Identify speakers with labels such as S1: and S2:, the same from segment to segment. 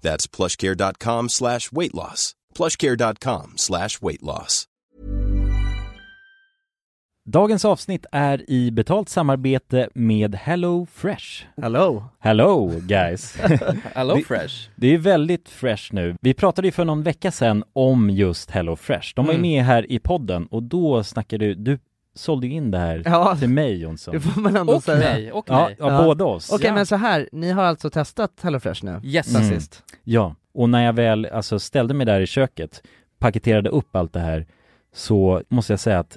S1: That's plushcare.com slash weight loss. plushcare.com slash weight loss.
S2: Dagens avsnitt är i betalt samarbete med Hello Fresh.
S3: Hello!
S2: Hello guys!
S3: Hello
S2: Det-
S3: Fresh!
S2: Det är väldigt fresh nu. Vi pratade ju för någon vecka sedan om just Hello Fresh. De var
S3: Mm.
S2: ju med här i podden och då snackade du, du sålde ju in det här
S3: Ja.
S2: till mig Jonsson.
S3: Det får man ändå
S4: Och
S3: säga.
S4: mig, och
S2: Ja,
S4: mig.
S2: ja,
S3: Ja.
S2: båda oss.
S3: Okej
S4: Ja.
S3: men så här, ni har alltså testat HelloFresh nu?
S4: Yes.
S3: Sen
S2: Mm.
S3: sist?
S2: Ja, och när jag väl alltså, ställde mig där i köket, paketerade upp allt det här, så måste jag säga att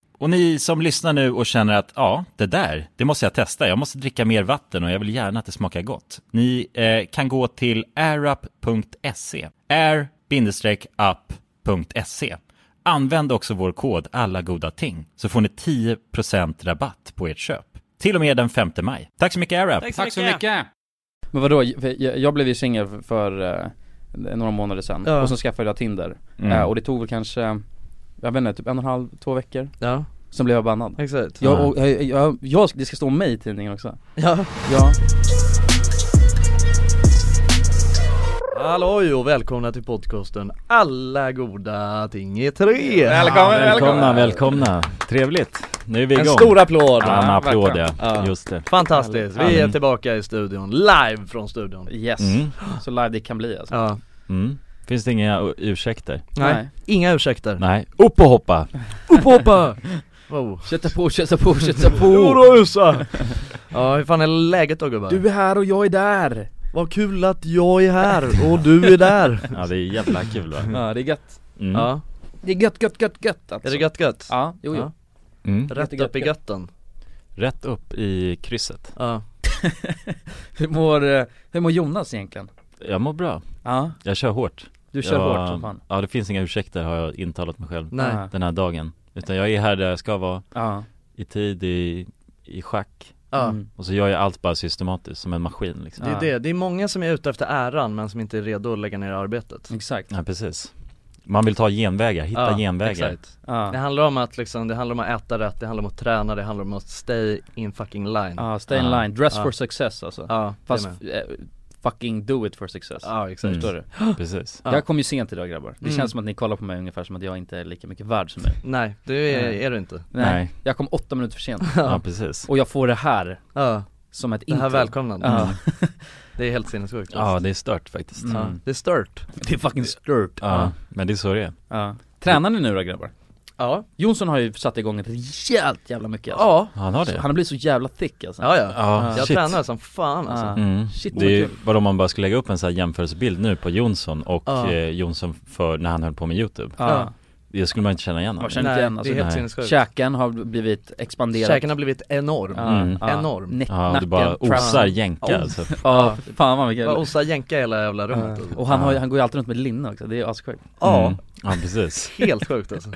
S2: Och ni som lyssnar nu och känner att ja, det där, det måste jag testa. Jag måste dricka mer vatten och jag vill gärna att det smakar gott. Ni eh, kan gå till airup.se. air-up.se. Använd också vår kod alla goda ting så får ni 10% rabatt på ert köp. Till och med den 5 maj. Tack så mycket AirUp!
S5: Tack så mycket!
S4: Men vadå, jag, jag blev ju singel för eh, några månader sedan
S3: Ja.
S4: och så skaffade jag Tinder.
S2: Mm.
S4: Eh, och det tog väl kanske, jag vet inte, typ en och en halv, två veckor.
S3: Ja,
S4: Sen blev jag bannad.
S3: exakt.
S4: Jag, och, jag, jag, jag, det ska stå om mig i tidningen också.
S3: Ja.
S4: Ja.
S3: Halloj och välkomna till podcasten Alla goda ting i tre!
S4: Välkommen,
S6: Välkomna, välkomna! Trevligt! Nu är vi igång!
S3: En stor applåd!
S6: Ja, en applåd ja,
S3: Ja.
S6: just det.
S3: Fantastiskt, vi är tillbaka i studion, live från studion
S4: Yes,
S6: Mm.
S4: så live det kan bli alltså.
S3: Ja,
S6: Mm. Finns det inga u- ursäkter?
S3: nej,
S4: Nej.
S3: inga ursäkter
S6: Nej, upp och hoppa!
S3: Upp och hoppa! Wow.
S4: Kötta på, kötta på, kötta på!
S3: Jodå Husse! Ja hur fan är läget då gubbar?
S4: Du är här och jag är där!
S3: Vad kul att jag är här och du är där!
S6: Ja det är jävla kul va?
S4: Ja det är gött
S6: Mm.
S3: Mm. Ja,
S4: Det är gött, gött, gött, gött alltså.
S3: är det gött gött?
S4: Ja, jo, jo.
S3: Ja.
S6: Mm.
S3: Rätt
S4: jättegött,
S3: upp i
S4: gött.
S3: götten
S6: Rätt upp i krysset.
S3: Ja,
S4: Hur, mår, eh, hur mår Jonas egentligen?
S6: Jag mår bra.
S4: Ja,
S6: Jag kör hårt.
S4: du kör
S6: jag,
S4: hårt som fan
S6: Ja det finns inga ursäkter har jag intalat mig själv
S3: nej,
S4: Ja.
S6: den här dagen. Utan jag är här där jag ska vara,
S4: Ja,
S6: i tid, i, i schack.
S3: ja
S4: Mm.
S6: Och så gör jag allt bara systematiskt, som en maskin liksom.
S3: Det är det, det är många som är ute efter äran men som inte är redo att lägga ner arbetet
S4: exakt
S6: Ja precis. Man vill ta genvägar, hitta
S3: Ja,
S6: genvägar.
S3: exakt. Det
S4: Ja,
S3: handlar om att liksom, det handlar om att äta rätt, det handlar om att träna, det handlar om att stay in fucking line Mm. Ja,
S4: ja stay in
S6: Ja.
S4: line, dress
S3: Ja.
S4: for success alltså
S3: ja det
S4: Fast
S3: med.
S4: eh, fucking do it for success
S3: ja exakt
S6: Mm.
S4: Förstår du?
S6: Precis.
S3: Ja.
S4: Jag kom ju sent idag grabbar, det
S3: Mm.
S4: känns som att ni kollar på mig ungefär som att jag inte är lika mycket värd som er
S3: Nej, det är,
S4: Nej.
S3: är du inte
S6: Nej.
S4: Jag kom åtta minuter för sent
S6: Ja, precis.
S4: och jag får det här
S3: Ja,
S4: som ett
S3: det här
S4: intro
S3: välkomnandet
S4: Ja,
S3: Det är helt sinnessjukt
S6: Ja det är stört faktiskt.
S4: Mm.
S6: Mm.
S3: Det är stört
S4: det är fucking stört
S6: Ja, men det är så det är.
S4: ja. Tränar ni nu då grabbar?
S3: Ja,
S4: Jonsson har ju satt igång ett rejält jävla mycket alltså.
S3: ja,
S6: Han har det.
S4: Han har blivit så jävla thick alltså
S3: ja, ja.
S6: Ja,
S3: Jag
S6: shit.
S3: tränar som fan alltså
S4: Ja.
S6: Mm.
S4: Shit,
S6: det är ju
S4: vad kul.
S6: bara om man bara skulle lägga upp en sån här jämförelsebild nu på Jonsson och
S3: Ja.
S6: eh, Jonsson för när han höll på med YouTube
S4: Ja.
S6: Det skulle man inte känna igen honom.
S4: Jag känner inte igen, alltså,
S3: det är helt
S6: nej.
S3: sinnessjukt
S4: Käken har blivit expanderat
S3: Käken har blivit enorm
S4: Ja,
S6: Mm.
S4: ja.
S3: Enorm.
S4: Neck,
S6: Ja, det
S4: nacken,
S6: bara osar jänka
S4: Oh.
S6: alltså.
S4: Ja, fan vad
S3: Bara
S4: mycket
S3: osa jänka hela jävla rummet alltså.
S4: Och han, har, ju-
S6: Ja.
S4: han går ju alltid runt med linne också, det är assjukt
S3: Ja,
S6: Mm. Ja precis.
S3: helt sjukt alltså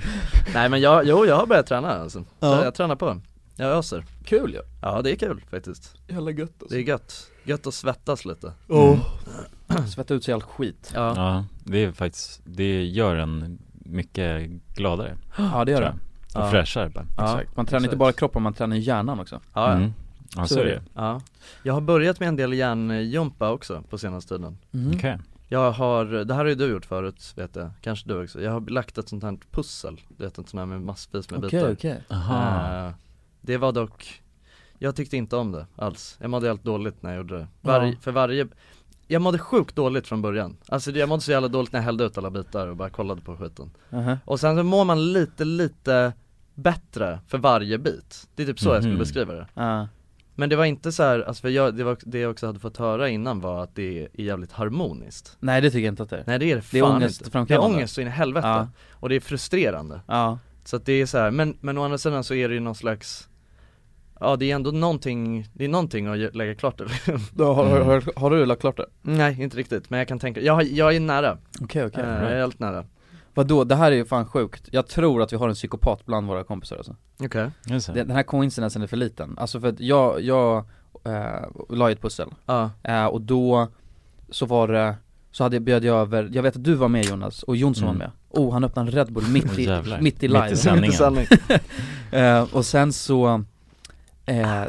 S3: Nej men jag, jo jag har börjat träna alltså
S4: Ja.
S3: Så jag tränar på Jag öser
S4: Kul ju
S3: Ja det är kul faktiskt
S4: Jävla gött
S3: Det är gött, gött att svettas lite
S4: Svetta ut sig all skit
S3: Ja,
S6: Ja, det är faktiskt, det gör en mycket gladare
S4: Ja det gör
S6: tror
S4: det
S6: jag. Och
S3: Ja.
S6: fräschare bara.
S3: ja,
S4: Exakt. Man tränar inte
S3: exakt.
S4: bara kroppen, man tränar ju hjärnan också
S3: ja, ja.
S6: Mm. Ja så är det.
S3: ja Jag har börjat med en del hjärnjumpa också på senaste tiden
S4: Mm.
S6: Okej.
S3: Jag har, det här har ju du gjort förut vet jag, kanske du också Jag har lagt ett sånt här pussel, du vet ett sånt här med massvis med bitar
S4: okej Ah.
S6: Aha.
S3: Eh, Det var dock, jag tyckte inte om det alls. Jag mådde helt dåligt när jag gjorde det. Varje,
S4: Ja.
S3: För varje, jag mådde sjukt dåligt från början. Alltså jag mådde så jävla dåligt när jag hällde ut alla bitar och bara kollade på skiten.
S4: Mhm.
S3: Och sen så mår man lite, lite bättre för varje bit. Det är typ så jag skulle
S6: Mhm.
S3: beskriva det.
S4: Ja.
S3: Men det var inte så här, alltså för jag, det, var, det jag också hade fått höra innan var att det är jävligt harmoniskt.
S4: Nej det tycker jag inte att det är
S3: Nej det är det fan
S4: Det är
S3: inte. Det är
S4: ångestframkallande
S3: ångest så in i helvete.
S4: Ja.
S3: Och det är frustrerande.
S4: Ja,
S3: Så att det är så här, men, men å andra sidan så är det ju någon slags Ja det är ändå någonting, det är någonting att ge- lägga klart det
S4: har,
S3: Mm.
S6: har-
S4: du lagt klart det?
S3: Nej inte riktigt, men jag kan tänka, jag, har- jag är nära,
S4: Okej okej
S3: Eh, jag är helt nära
S4: Vadå, det här är ju fan sjukt Jag tror att vi har en psykopat bland våra kompisar alltså.
S3: Okej
S6: Just det.
S4: Den den här coincidensen är för liten, alltså för att jag, jag eh, la ju ett pussel
S3: Ja,
S4: Eh, och då så var det, så hade jag, bjöd jag över, jag vet att du var med Jonas och Jonsson
S6: Mm.
S4: var med Oh han öppnade en Red Bull mitt i,
S6: Jävlar.
S4: mitt i live
S6: Mitt i sändningen.
S4: eh, Och sen så, eh,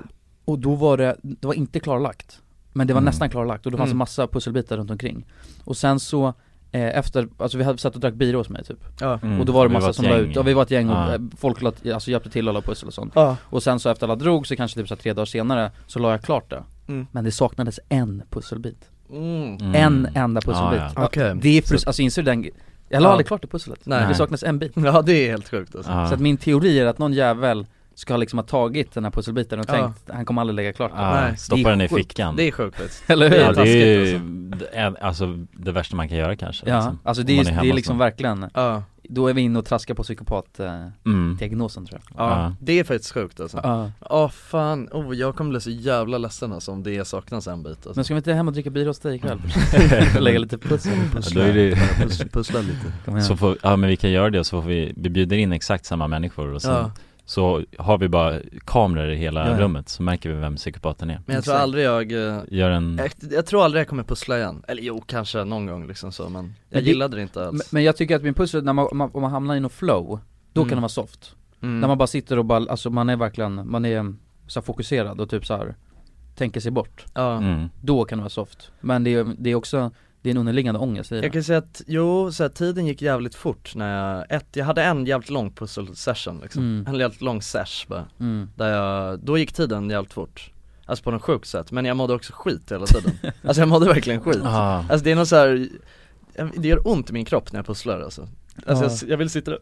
S4: och då var det, det var inte klarlagt Men det var
S6: Mm.
S4: nästan klarlagt och det fanns
S3: Mm.
S4: en massa pusselbitar runt omkring Och sen så eh, efter, alltså vi hade satt och drack bira hos mig typ
S3: ja,
S6: Mm.
S4: Och då var det
S6: Vi
S4: massa
S6: ett
S4: som la
S6: gäng. Ah.
S4: ut, ja vi var ett gäng och
S6: Ja.
S4: eh, folk la, alltså, hjälpte till att la pussel och sånt
S3: ja,
S4: och sen så efter alla drog så kanske typ så här tre dagar senare så la jag klart det
S3: Mm.
S4: Men det saknades en pusselbit,
S3: mm.
S6: Mm.
S4: en enda pusselbit
S6: Ja,
S3: okej
S4: Det är frus- alltså inser du den Jag la
S3: Ja.
S4: aldrig klart det pusslet,
S3: Nej.
S4: det saknas en bit
S3: Ja det är helt sjukt alltså.
S6: Ja.
S4: Så att min teori är att någon jävel ska liksom ha tagit den här pusselbiten och
S3: Ja.
S4: tänkt han kommer aldrig lägga klart det
S6: Ja,
S3: Nej,
S6: stoppa
S4: det är
S6: den i
S4: sjukt.
S6: fickan.
S3: Det är sjukt faktiskt
S4: Eller hur?
S6: ja, det är
S3: taskigt,
S6: ju en, alltså det värsta man kan göra kanske.
S4: Ja,
S6: liksom.
S4: alltså
S6: Om
S4: det
S6: man
S4: är, det
S6: hemma
S4: är liksom
S6: så.
S4: verkligen,
S3: Ja,
S4: då är vi inne och traskar på psykopatdiagnosen
S6: mm.
S4: diagnosen tror jag
S3: ja,
S6: Ja.
S3: det är faktiskt sjukt alltså
S4: Ja.
S3: Åh fan, oh jag kommer bli så jävla ledsen alltså om det saknas en bit alltså.
S4: Men ska vi inte hem och dricka bira hos dig ikväll? Och lägga lite pussel?
S6: Ja, då är det,
S3: Pus- Pussla lite
S4: Kom igen.
S6: så får, ja men vi kan göra det och så får vi, vi bjuder in exakt samma människor och sen
S3: Ja,
S6: så har vi bara kameror i hela
S4: Ja, ja.
S6: rummet så märker vi vem psykopaten är
S3: men jag tror
S4: Exakt. Mm.
S3: aldrig jag eh,
S6: Gör en,
S3: Jag, jag tror aldrig jag kommer pussla igen, eller jo kanske någon gång liksom så men jag
S4: Men det-
S3: gillade det inte
S4: Men-
S3: alls
S4: Men jag tycker att min pussel, när man, man, om man hamnar i något flow, då
S3: Mm.
S4: kan den vara soft
S3: mm.
S4: När man bara sitter och bara, alltså man är verkligen, man är så här fokuserad och typ så här tänker sig bort
S3: ja.
S6: mm.
S4: Då kan det vara soft Men det är, det är också, det Det är en underliggande ångest i
S3: Jag
S4: det.
S3: kan säga att, jo, så här, tiden gick jävligt fort när jag, ett, jag hade en jävligt lång pussel session liksom,
S4: Mm.
S3: en jävligt lång sesh bara,
S4: Mm.
S3: där jag, då gick tiden jävligt fort Alltså på något sjukt sätt, men jag mådde också skit hela tiden Alltså jag mådde verkligen skit
S6: Ah.
S3: Alltså det är något så här, det gör ont i min kropp när jag pusslar alltså Alltså
S4: Ja.
S3: jag, jag vill sitta där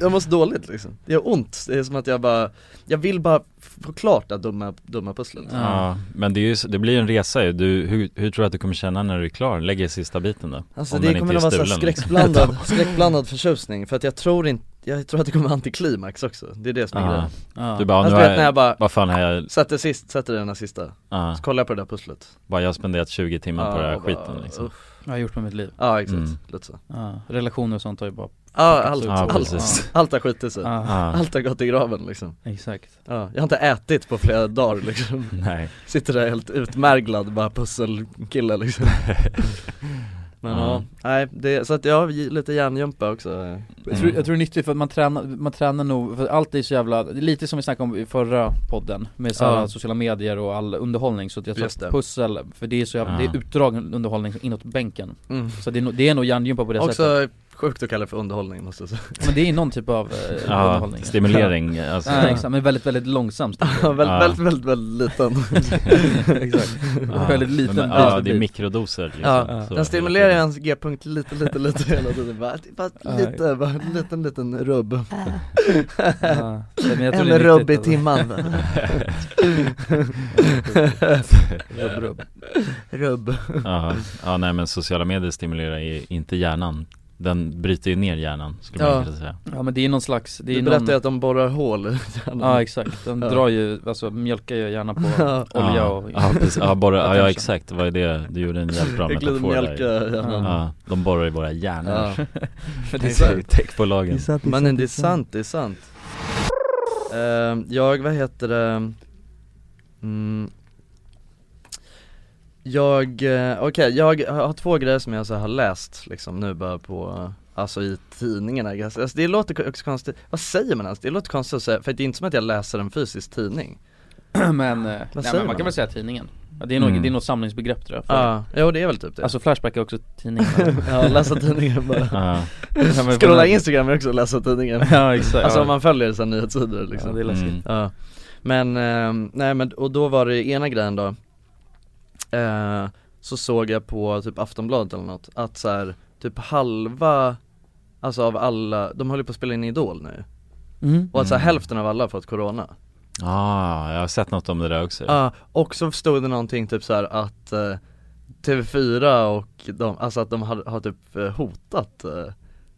S3: Jag mår så dåligt liksom, det gör ont, det är som att jag bara, jag vill bara få klart det här dumma, dumma pusslet
S6: Ja, men det, är ju, så- det blir ju en resa ju. Du, hur, hur tror du att du kommer känna när du är klar? Lägger sista biten då?
S3: Alltså
S6: Om
S3: det
S6: den
S3: kommer
S6: inte
S3: att
S6: är
S3: vara så här
S6: stulen. liksom.
S3: skräckblandad, skräckblandad förtjusning för att jag tror inte, jag tror att det kommer vara antiklimax också, det är det som är
S6: Ah.
S3: grejen
S4: Ja.
S6: Du bara,
S3: Alltså
S6: nu
S3: du vet när
S6: är,
S3: jag bara
S6: vad fan har jag,
S3: sätter sist, sätter den här sista,
S6: ah,
S3: så kollar jag på det där pusslet
S6: bara jag har spenderat 20 timmar på
S3: Ja,
S6: den här
S3: och bara,
S6: skiten liksom.
S3: uff.
S4: Jag har gjort med mitt liv.
S3: Ja exakt,
S6: Mm.
S3: lite så
S4: Ja. Relationer och sånt har ju bara...
S3: Ja allt,
S4: Ja,
S3: allt,
S4: precis.
S3: allt har skitit sig,
S4: Ja.
S6: Ah,
S3: allt har gått i graven liksom
S4: Exakt.
S3: Ja, jag har inte ätit på flera dagar liksom,
S6: nej.
S3: sitter där helt utmärglad bara pusselkille liksom Men
S6: Ja.
S3: ja, Mm. nej, det, så att jag har lite hjärngympa också
S4: Jag
S6: Mm.
S4: tror, jag tror det är nyttigt för att man tränar, man tränar nog, för allt är så jävla, det är lite som vi snackade om i förra podden Med så här
S3: Ja.
S4: sociala medier och all underhållning, så att jag tror
S3: Just
S4: att
S3: det.
S4: pussel, för det är så jävla,
S6: Ja.
S4: det är utdragen underhållning inåt bänken
S3: mm.
S4: Så det är, nog- det är nog hjärngympa på det sättet,
S3: Också sjukt att kalla det för underhållning måste jag säga
S4: men det är någon typ av eh,
S6: Ja,
S4: underhållning
S6: stimulering alltså.
S4: Ja, exakt, men väldigt, väldigt långsamt
S3: Ja, väldigt,
S6: Ja.
S3: väldigt, väldigt, väldigt liten Exakt
S6: Ah,
S4: väldigt liten
S6: men-
S4: bit
S6: Ja,
S4: för
S6: det är
S4: bit.
S6: mikrodoser liksom.
S3: Ja,
S6: Så-
S3: den stimulerar hans g-punkt lite, lite, lite hela tiden bara, bara
S4: Ja.
S3: lite, bara en liten, liten rubb
S4: Ja, men jag tror det
S3: En
S4: är
S3: rubb i
S4: nyttigt,
S3: timman
S4: alltså. Rubb, rubb.
S3: Rubb
S6: Ja, ja nej men sociala medier stimulerar ju inte hjärnan Den bryter ju ner hjärnan skulle
S3: Ja.
S6: man kunna säga
S4: Ja men det är någon slags, det är
S3: Du berättade
S4: någon,
S3: ju att de borrar hål i
S4: ja
S3: hjärnan
S4: exakt, de
S3: Ja.
S4: drar ju, alltså mjölkar ju gärna på
S3: Ja.
S4: olja
S6: ja,
S4: och
S6: Ja, precis, ja, borra, ja, ja
S4: Attention.
S6: exakt, vad är det? Du gjorde en jävligt bra
S3: Jag glider
S6: metafor
S3: mjölk i
S6: där
S3: hjärnan
S6: Ja, de borrar i våra hjärnor
S3: Ja.
S6: För
S3: det är sant.
S6: techbolagen
S3: Men det är sant, det är sant Eh, Jag, vad heter det mm, Jag, eh, okej, jag har två grejer som jag så här har läst liksom nu bara på Alltså i tidningarna, I guess. alltså, det låter också konstigt, vad säger man ens? Det låter konstigt att säga, för det är inte som att jag läser en fysisk tidning
S4: Men, eh,
S3: säger
S4: nej, men man
S3: man?
S4: kan väl säga tidningen ja, det, är nog,
S6: Mm.
S4: det är något samlingsbegrepp tror jag för,
S3: Ja, jo det är väl typ det
S4: Ah. Alltså Flashback är också tidningen
S3: Ja, läsa tidningen bara
S6: Ja,
S3: Scrolla Instagram är också läsa tidningen
S4: Ja exakt
S3: Alltså
S4: ja.
S3: om man följer sina nyhetssidor liksom
S4: ja, det är läskigt
S6: mm.
S3: Ja, men, eh, nej men och då var det ena grejen då eh, Så såg jag på typ Aftonbladet eller något att så här, typ halva Alltså av alla, de håller på att spela in Idol nu
S4: mm.
S3: och att så här,
S6: Mm.
S3: hälften av alla har fått corona
S6: ah, jag har sett något om det där
S4: Typ.
S6: också
S3: Ja, och så stod det någonting typ så här att eh, TV4 och de, alltså att de har, har typ eh, hotat eh,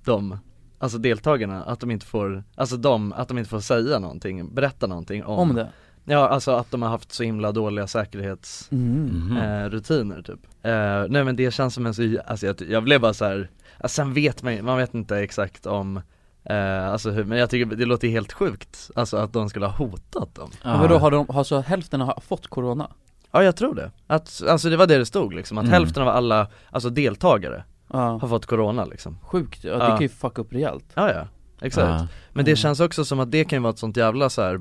S3: de Alltså deltagarna, att de inte får, alltså de, att de inte får säga någonting, berätta någonting om,
S4: Om det?
S3: Ja alltså att de har haft så himla dåliga säkerhetsrutiner
S4: Mm.
S6: Mhm.
S3: eh, rutiner, typ eh, Nej men det känns som en så, alltså jag, jag blev bara så här. Alltså, sen vet man ju- man vet inte exakt om eh, Alltså hur, men jag tycker det låter helt sjukt Alltså att de skulle ha hotat dem
S6: Ja.
S4: Men vadå, har, de, har så hälften har fått corona?
S3: Ja jag tror det, att, alltså det var det det stod liksom, att
S6: Mm.
S3: hälften av alla, alltså deltagare
S4: Ja,
S3: har fått corona liksom
S4: sjukt, ja, det
S3: Ja.
S4: kan ju fucka upp rejält
S3: Ja ja, exakt
S6: Ja. Mm.
S3: Men det känns också som att det kan ju vara ett sånt jävla så här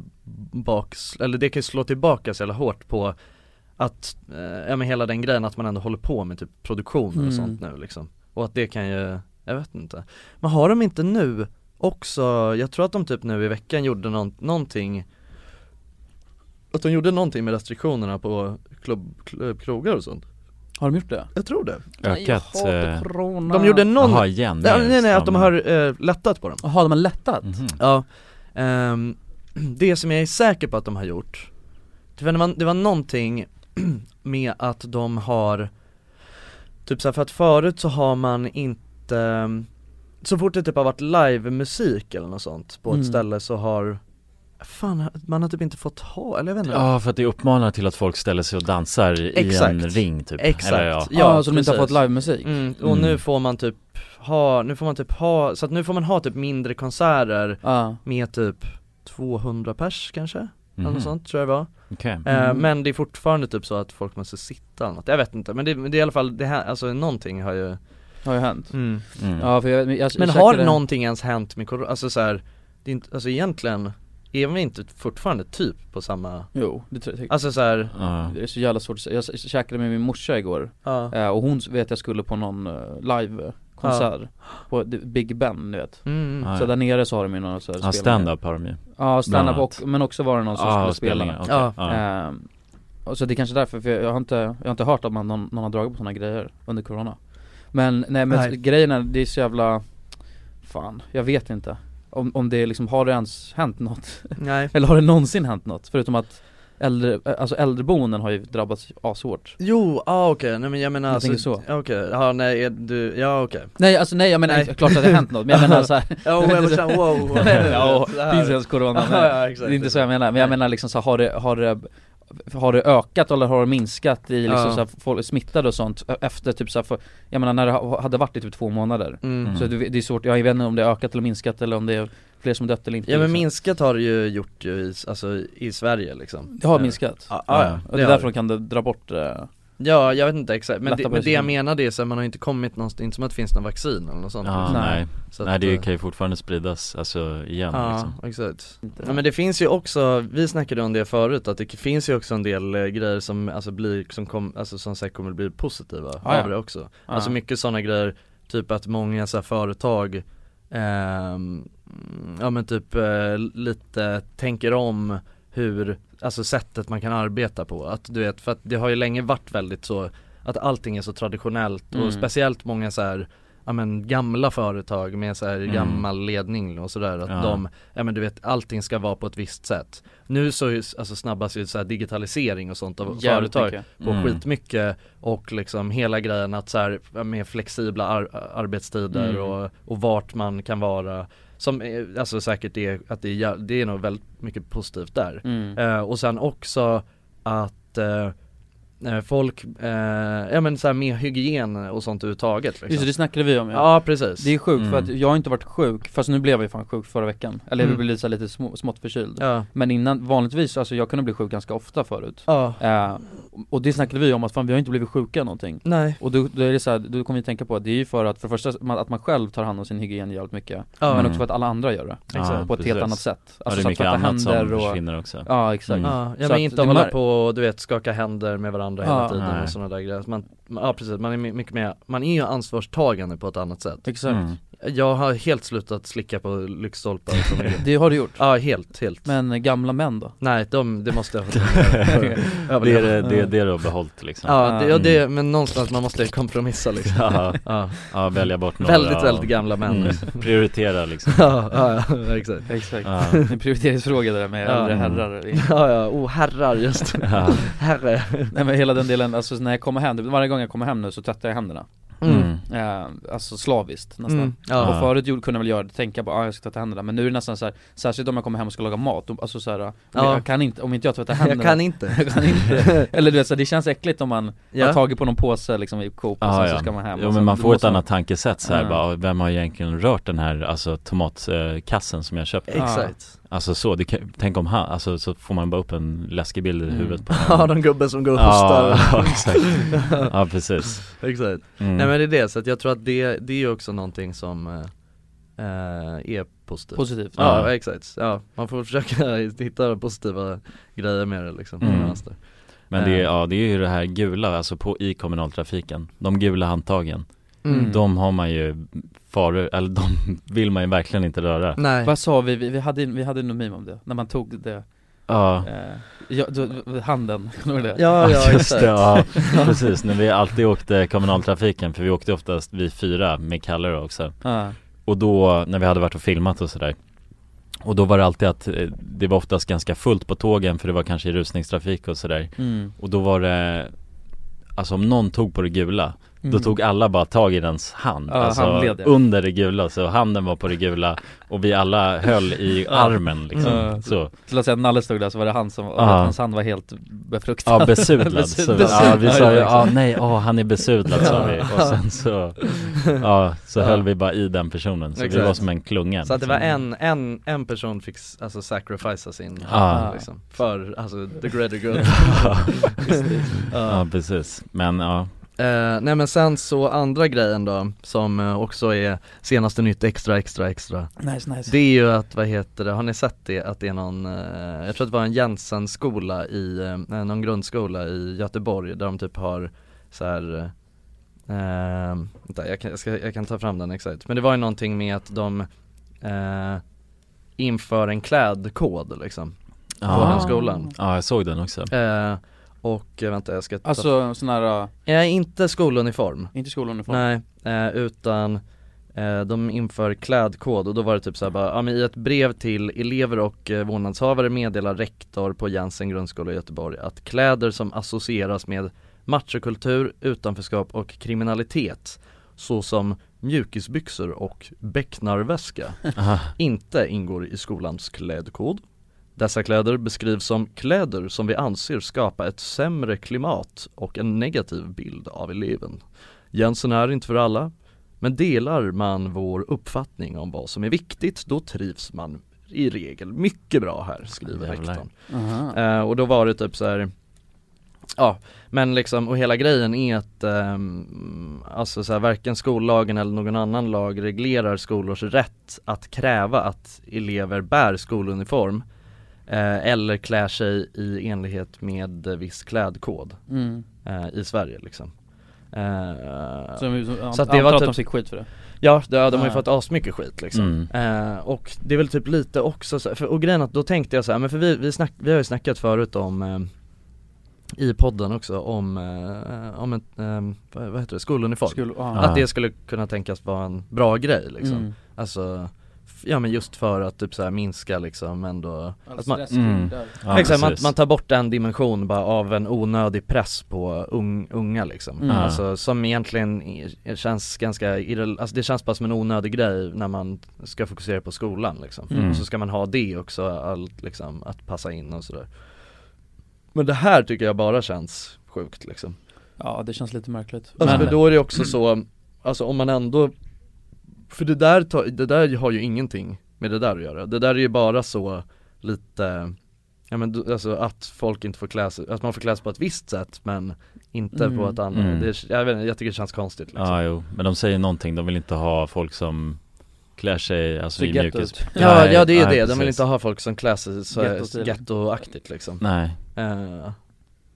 S3: baks, eller det kan ju slå tillbaka så jävla hårt på att, eh, ja men hela den grejen att man ändå håller på med typ produktioner
S4: Mm.
S3: och sånt nu liksom Och att det kan ju, jag vet inte Men har de inte nu också, jag tror att de typ nu i veckan gjorde någon, någonting Att de gjorde någonting med restriktionerna på klubb, klubb, krogar och sånt
S4: Har de gjort det?
S3: Jag tror det
S6: Ökat,
S4: Nej, jag
S6: eh,
S4: hatar corona
S3: De gjorde någon,
S6: Jaha, igen
S3: nej,
S6: mer
S3: nej nej att de
S6: stam.
S3: har eh, lättat på dem
S4: Jaha, de har lättat?
S6: Mhm.
S3: Ja, ehm, det som jag är säker på att de har gjort Det var, när man- det var någonting med att de har Typ såhär, för att förut så har man inte ehm, Så fort det typ har varit livemusik eller något sånt på
S4: Mm.
S3: ett ställe så har Fan, man har typ inte fått ha, eller jag vet inte
S6: Ja, för att det uppmanar till att folk ställer sig och dansar i
S3: Exakt.
S6: en ring typ
S3: Exakt,
S6: Eller, ja.
S4: Ja, så de inte har
S3: precis.
S4: fått livemusik?
S3: Mm, och
S6: Mm.
S3: nu får man typ ha, nu får man typ ha, så att nu får man ha typ mindre konserter
S4: Ja,
S3: med typ 200 pers kanske, eller
S6: Mhm.
S3: något sånt tror jag det var
S6: Okej.
S3: Eh,
S4: Mm.
S3: Men det är fortfarande typ så att folk måste sitta eller något, jag vet inte men det, men det är i alla fall, det här, alltså någonting har ju
S4: har ju hänt
S6: Mm.
S4: Ja för jag, jag, jag
S3: Men har
S4: käkade-
S3: någonting ens hänt med corona, alltså så här, det är inte, alltså egentligen Är vi inte fortfarande typ på samma,
S4: Jo, det tror jag
S3: alltså så här,
S6: Ja.
S4: Det är så jävla svårt att säga. Jag s- käkade med min morsa igår
S6: Ah.
S3: ja
S4: eh, och hon s- vet jag skulle på någon eh, live konsert på The Big Ben du vet
S3: mm.
S6: Ah. Ja,
S4: Så där nere så har de ju några så här spelningar.
S6: Ja, stand-up har de ju.
S4: Ja, stand-up
S6: bland Ah,
S4: och, men också var det någon som skulle spela
S6: spelningar, okej.
S3: Ja.
S6: Ja.
S4: Ehm, och så det är kanske är därför, för jag, jag, har inte, jag har inte hört att man, någon, någon har dragit på sådana grejer under corona Men nej men
S3: Nej.
S4: grejen är, det är så jävla, fan, jag vet inte Om, om det liksom, har det ens hänt något?
S3: mm, nej
S4: Eller har det någonsin hänt något? Förutom att äldre, alltså äldreboenden har ju drabbats ashårt
S3: Jo, ja ah, okej, nej men jag menar
S4: Jag
S3: alltså,
S4: tänker så.
S3: ja, okej, ja nej är du, ja okej
S4: Nej alltså nej jag menar,
S3: Nej.
S4: klart att det har hänt något men jag menar såhär
S3: Ja, och jag var såhär, wow, wow.
S4: Ja,
S3: Så
S4: det
S3: här.
S4: är inte ens corona men,
S3: Ja, ja, exakt.
S4: Det är inte så jag menar, men jag menar liksom så här, har det, har det har det ökat eller har det minskat i liksom
S3: Ja.
S4: så här, folk smittade och sånt efter typ så här, för, jag menar när det ha- hade varit i typ två månader?
S3: Mm.
S4: Så det, det är svårt, jag vet inte om det har ökat eller minskat eller om det är fler som dött eller inte
S3: Ja men
S4: liksom.
S3: minskat har det ju gjort ju i, alltså, i Sverige liksom
S4: Det har minskat,
S3: Ja, ja,
S4: och det,
S3: det
S4: är
S3: har
S4: därför de kan d- dra bort eh,
S3: Ja, jag vet inte exakt, men
S4: Lätta
S3: det,
S4: på
S3: men det jag
S4: sig.
S3: menar det är så här, man har ju inte kommit någonstans, det är inte som att det finns någon vaccin eller något sånt
S6: Ja,
S3: liksom.
S6: nej.
S3: Så
S6: nej,
S3: att,
S6: det
S3: eh,
S6: kan ju fortfarande spridas, alltså igen
S3: Ja,
S6: liksom.
S3: exakt. Ja, men det finns ju också, vi snackade om det förut, att det finns ju också en del eh, grejer som alltså blir, som, kom, alltså, som säkert kommer bli positiva
S4: ja.
S3: av det också. Alltså mycket sådana grejer, typ att många så här, företag ehm, ja men typ eh, lite tänker om hur, alltså sättet man kan arbeta på. Att du vet, för att det har ju länge varit väldigt så att allting är så traditionellt och speciellt många så här Ja men gamla företag med så här gammal ledning och sådär att
S6: Ja.
S3: de, ja men du vet allting ska vara på ett visst sätt Nu så är ju s- alltså snabbas ju så här digitalisering och sånt av
S4: Jävligt
S3: företag
S4: mycket. Mm.
S3: på skitmycket och liksom hela grejen att så här, med flexibla ar- arbetstider
S4: Mm.
S3: och, och vart man kan vara som är- alltså säkert är att det är, jä- det är nog väldigt mycket positivt där
S4: Mm.
S3: eh, och sen också att eh, eh, folk, eh, ja men så här med hygien och sånt överhuvudtaget
S4: Just
S3: liksom.
S4: det, det snackade vi om
S3: Ja precis,
S4: Det är sjukt för
S6: Mm.
S4: att jag har inte varit sjuk, fast nu blev jag ju fan sjuk förra veckan Eller jag
S3: Mm.
S4: blev lite, så här lite små, smått förkyld
S3: ja.
S4: Men innan, vanligtvis, alltså jag kunde bli sjuk ganska ofta förut
S3: ja,
S4: Eh, och det snackade vi om att fan vi har inte blivit sjuka någonting
S3: nej,
S4: Och då, då är det så här, då kommer vi tänka på att det är ju för att för det första man, att man själv tar hand om sin hygien jävligt mycket
S3: Ja.
S4: Men
S6: Mm.
S4: också för att alla andra gör det
S6: Ja,
S4: På ett helt
S6: precis.
S4: annat sätt Alltså
S6: Ja,
S4: så
S6: det
S4: att
S6: är mycket
S4: tvätta
S6: annat som
S4: händer och-
S6: försvinner också.
S4: Ja exakt
S6: Mm.
S3: ja,
S4: Så
S3: ja
S4: att
S3: men inte
S4: det
S3: hålla
S4: mär-
S3: på och du vet skaka händer med varandra hela
S4: Ja.
S3: tiden
S6: Nej.
S3: och sådana där grejer man, Ja precis, man är my- mycket mer, man är ju ansvarstagande på ett annat sätt
S4: Exakt,
S6: Mm.
S3: Jag har helt slutat slicka på lyktstolpar och sådana grejer
S4: det har du gjort
S3: Ja helt, helt
S4: Men gamla män då?
S3: Nej, de, det måste jag
S6: Det är
S3: överleva
S6: det, det, är det du har behållit liksom.
S3: Ja, det, ja det, men någonstans man måste kompromissa liksom
S6: Ja,
S3: ja.
S6: ja, välja bort några
S3: Väldigt,
S6: och-
S3: väldigt gamla män
S6: Mm, prioritera liksom.
S3: ja, ja, ja, exakt
S4: Exakt
S6: Ja.
S4: Det är en prioriteringsfråga det där med
S3: Ja.
S4: äldre
S6: Mm.
S4: herrar
S3: Ja, ja, oh herrar just
S6: Ja.
S3: Herre
S4: Nej men hela den delen, alltså när jag kommer hem, varje gång jag kommer hem nu så tvättar jag händerna
S6: Mm.
S4: eh, Alltså slaviskt nästan
S3: Mm, ja.
S4: Och förut gjorde- kunde jag väl göra det, tänka bara ah, jag ska tvätta händerna Men nu är det nästan så här, särskilt om jag kommer hem och ska laga mat, och- alltså så här, men
S3: Ja.
S4: jag kan inte, om inte jag tvättar
S3: Jag
S4: händerna
S3: kan inte
S4: jag kan inte. Eller du vet så här, det känns äckligt om man har
S3: Ja.
S4: tagit på någon påse liksom i Coop och
S6: Ja,
S4: sen
S6: ja.
S4: så ska man hem
S6: Jo
S4: och
S6: men
S4: sen,
S6: man
S4: det
S6: får ett
S4: måste-
S6: annat tankesätt så här,
S4: Ja.
S6: bara, vem har egentligen rört den här alltså tomatkassen som jag köpte?
S3: Exakt
S6: Alltså så, det kan, tänk om han, alltså så får man bara upp en läskig bild i huvudet på
S3: Ja,
S6: honom
S3: de gubben som går och
S6: Ja,
S3: hostar
S6: ja exakt, ja precis
S3: Exakt
S6: mm.
S3: Nej men det är det, så att jag tror att det, det är ju också någonting som eh, eh, är positivt
S4: Positivt
S3: Ja,
S6: Ja.
S3: exakt, ja man får försöka hitta positiva grejer med det liksom
S6: Mm.
S3: mm.
S6: Men det är, ja, det är ju det här gula, alltså på, i kommunaltrafiken, de gula handtagen
S3: Mm.
S6: De har man ju faror, eller de vill man ju verkligen inte röra
S3: Nej
S4: Vad sa vi, vi, vi hade, vi hade en meme om det, när man tog det,
S6: Ja,
S4: eh, ja, då, handen, kommer du ihåg det?
S3: Ja, ja
S6: just
S3: exakt
S6: det, ja precis, när vi alltid åkte kommunaltrafiken, för vi åkte oftast vi fyra med Kalle då också
S4: Ja.
S6: Och då, när vi hade varit och filmat och sådär Och då var det alltid att eh, det var oftast ganska fullt på tågen för det var kanske i rusningstrafik och sådär
S4: Mm.
S6: Och då var det Alltså om någon tog på det gula Då tog alla bara tag i dens hand,
S4: Mm. Ja,
S6: alltså
S4: handled, ja.
S6: under det gula, så handen var på det gula och vi alla höll i armen liksom,
S4: Ja.
S6: så
S4: Så låt säga att Nalle stod där så var det han
S3: Ah.
S4: som,
S6: Ja.
S4: hans hand var helt befruktad
S6: Ja besudlad, så,
S4: Besudlad.
S6: ja, vi sa ju
S4: Ja,
S6: ja nej, åh han är besudlad sa vi och sen så Ja, så höll vi bara i den personen, så vi
S3: Exakt.
S6: var som en klunga
S3: Så att det var
S6: liksom.
S3: en, en, en person fick s- alltså sacrificea sin
S6: Ja.
S3: liksom, för alltså the greater good
S6: Ja precis, men ja
S3: Eh, nej men sen så andra grejen då, som eh, också är senaste nytt extra extra extra
S4: Nice, nice.
S3: Det är ju att, vad heter det, har ni sett det? Att det är någon, eh, jag tror att det var en Jensen-skola i, eh, någon grundskola i Göteborg där de typ har så här eh, vänta, jag, kan, jag, ska, jag kan ta fram den exakt, men det var ju någonting med att de eh, inför en klädkod liksom på
S4: Ah.
S3: den skolan
S6: Ja, jag såg den också.
S3: eh, Och eh, vänta jag ska ta,
S4: Alltså sån här, uh,
S3: eh, inte skoluniform
S4: inte skoluniform
S3: Nej, eh, utan eh, de inför klädkod och då var det typ såhär bara, ja men i ett brev till elever och eh, vårdnadshavare meddelar rektor på Jensen grundskola i Göteborg att kläder som associeras med machokultur, utanförskap och kriminalitet såsom mjukisbyxor och becknarväska inte ingår i skolans klädkod. Dessa kläder beskrivs som kläder som vi anser skapa ett sämre klimat och en negativ bild av eleven. Jensen är inte för alla, men delar man vår uppfattning om vad som är viktigt då trivs man i regel mycket bra här, skriver
S6: Jävlar.
S3: rektorn.
S4: Aha.
S3: Eh, och då var det typ så här. Ja, men liksom och hela grejen är att ehm, alltså så här, varken skollagen eller någon annan lag reglerar skolors rätt att kräva att elever bär skoluniform eh, eller klär sig i enlighet med eh, viss klädkod
S4: Mm.
S3: eh, i Sverige liksom. Eh,
S4: Så, de-
S3: Så att det
S4: antar
S3: var
S4: att
S3: typ-
S4: de fick skit för det?
S3: Ja, det, ja, de har ju
S4: Ah.
S3: fått asmycket skit liksom.
S6: Mm.
S3: Eh, och det är väl typ lite också så, för, och grejen är att då tänkte jag så här, men för vi, vi, snack, vi har ju snackat förut om eh, i podden också om, eh, om ett, eh, vad vad heter det, skoluniform.
S4: Skulle, ja.
S3: Att det skulle kunna tänkas vara en bra grej liksom.
S4: Mm.
S3: Alltså, f- ja men just för att typ så här minska liksom ändå
S4: All
S3: att man,
S4: stress
S6: Mm.
S4: kring det.
S6: Ja,
S3: Exakt, man,
S6: precis.
S3: man tar bort en dimension bara av en onödig press på ung, unga liksom.
S4: Mm.
S3: Alltså som egentligen i- känns ganska, irre- alltså det känns bara som en onödig grej när man ska fokusera på skolan liksom.
S6: Mm.
S3: Och så ska man ha det också, allt liksom, att passa in och sådär. Men det här tycker jag bara känns sjukt liksom.
S4: Ja det känns lite märkligt
S3: Alltså
S4: Men-
S3: för då är det också så, alltså om man ändå För det där, tar- det där har ju ingenting med det där att göra, det där är ju bara så lite Ja men du- alltså att folk inte får klä sig, att man får klä sig på ett visst sätt men inte
S4: Mm.
S3: på ett annat,
S6: Mm.
S3: det, är- jag, vet, inte, jag tycker det känns konstigt liksom.
S6: Ja, jo. Men de säger någonting, de vill inte ha folk som klär sig alltså,
S4: Ser
S6: i
S4: ghetto
S6: mjukis.
S4: ut.
S3: Ja,
S6: Nej,
S3: ja det är ju
S6: nej,
S3: det, de vill
S6: precis.
S3: inte ha folk som klär sig så
S4: Ghetto-stil.
S3: gettoaktigt liksom
S6: Nej.
S3: Eh,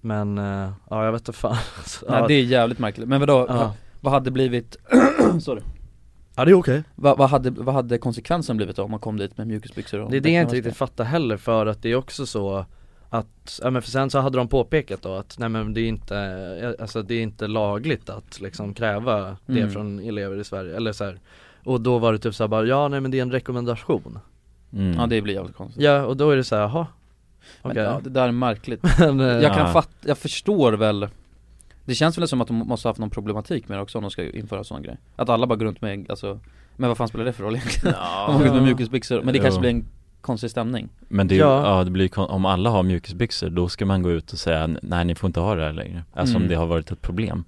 S3: Men, eh, ja jag vet inte fan Alltså,
S4: Nej
S3: ja,
S4: det är jävligt märkligt, men vadå,
S3: ja.
S4: va, vad hade blivit, sorry,
S3: ja det är okej
S4: vad, vad, hade, vad hade konsekvensen blivit då om man kom dit med mjukisbyxor och
S3: Det är det jag inte
S4: bäcknarväska?
S3: riktigt fattar heller för att det är också så att, ja men för sen så hade de påpekat då att nej men det är inte, eh, alltså det är inte lagligt att liksom kräva det
S4: Mm.
S3: från elever i Sverige eller så här. Och då var det typ såhär bara, ja nej men det är en rekommendation
S6: Mm.
S4: Ja det blir jävligt konstigt
S3: Ja och då är det såhär, jaha
S4: Men
S3: Okej
S4: ja, det där är märkligt,
S3: Men, eh,
S4: jag kan
S6: Ja.
S4: fatta, jag förstår väl Det känns väl som att de måste ha haft någon problematik med det också om de ska införa sån grej Att alla bara går runt med, alltså, men vad fan spelar det för roll egentligen? Om man går med mjukisbyxor, men det kanske
S6: Jo.
S4: blir en konstig stämning
S6: Men det, är ju,
S3: Ja.
S6: ja. det blir, ju kon- om alla har mjukisbyxor då ska man gå ut och säga nej ni får inte ha det här längre. Alltså
S4: Mm.
S6: om det har varit ett problem.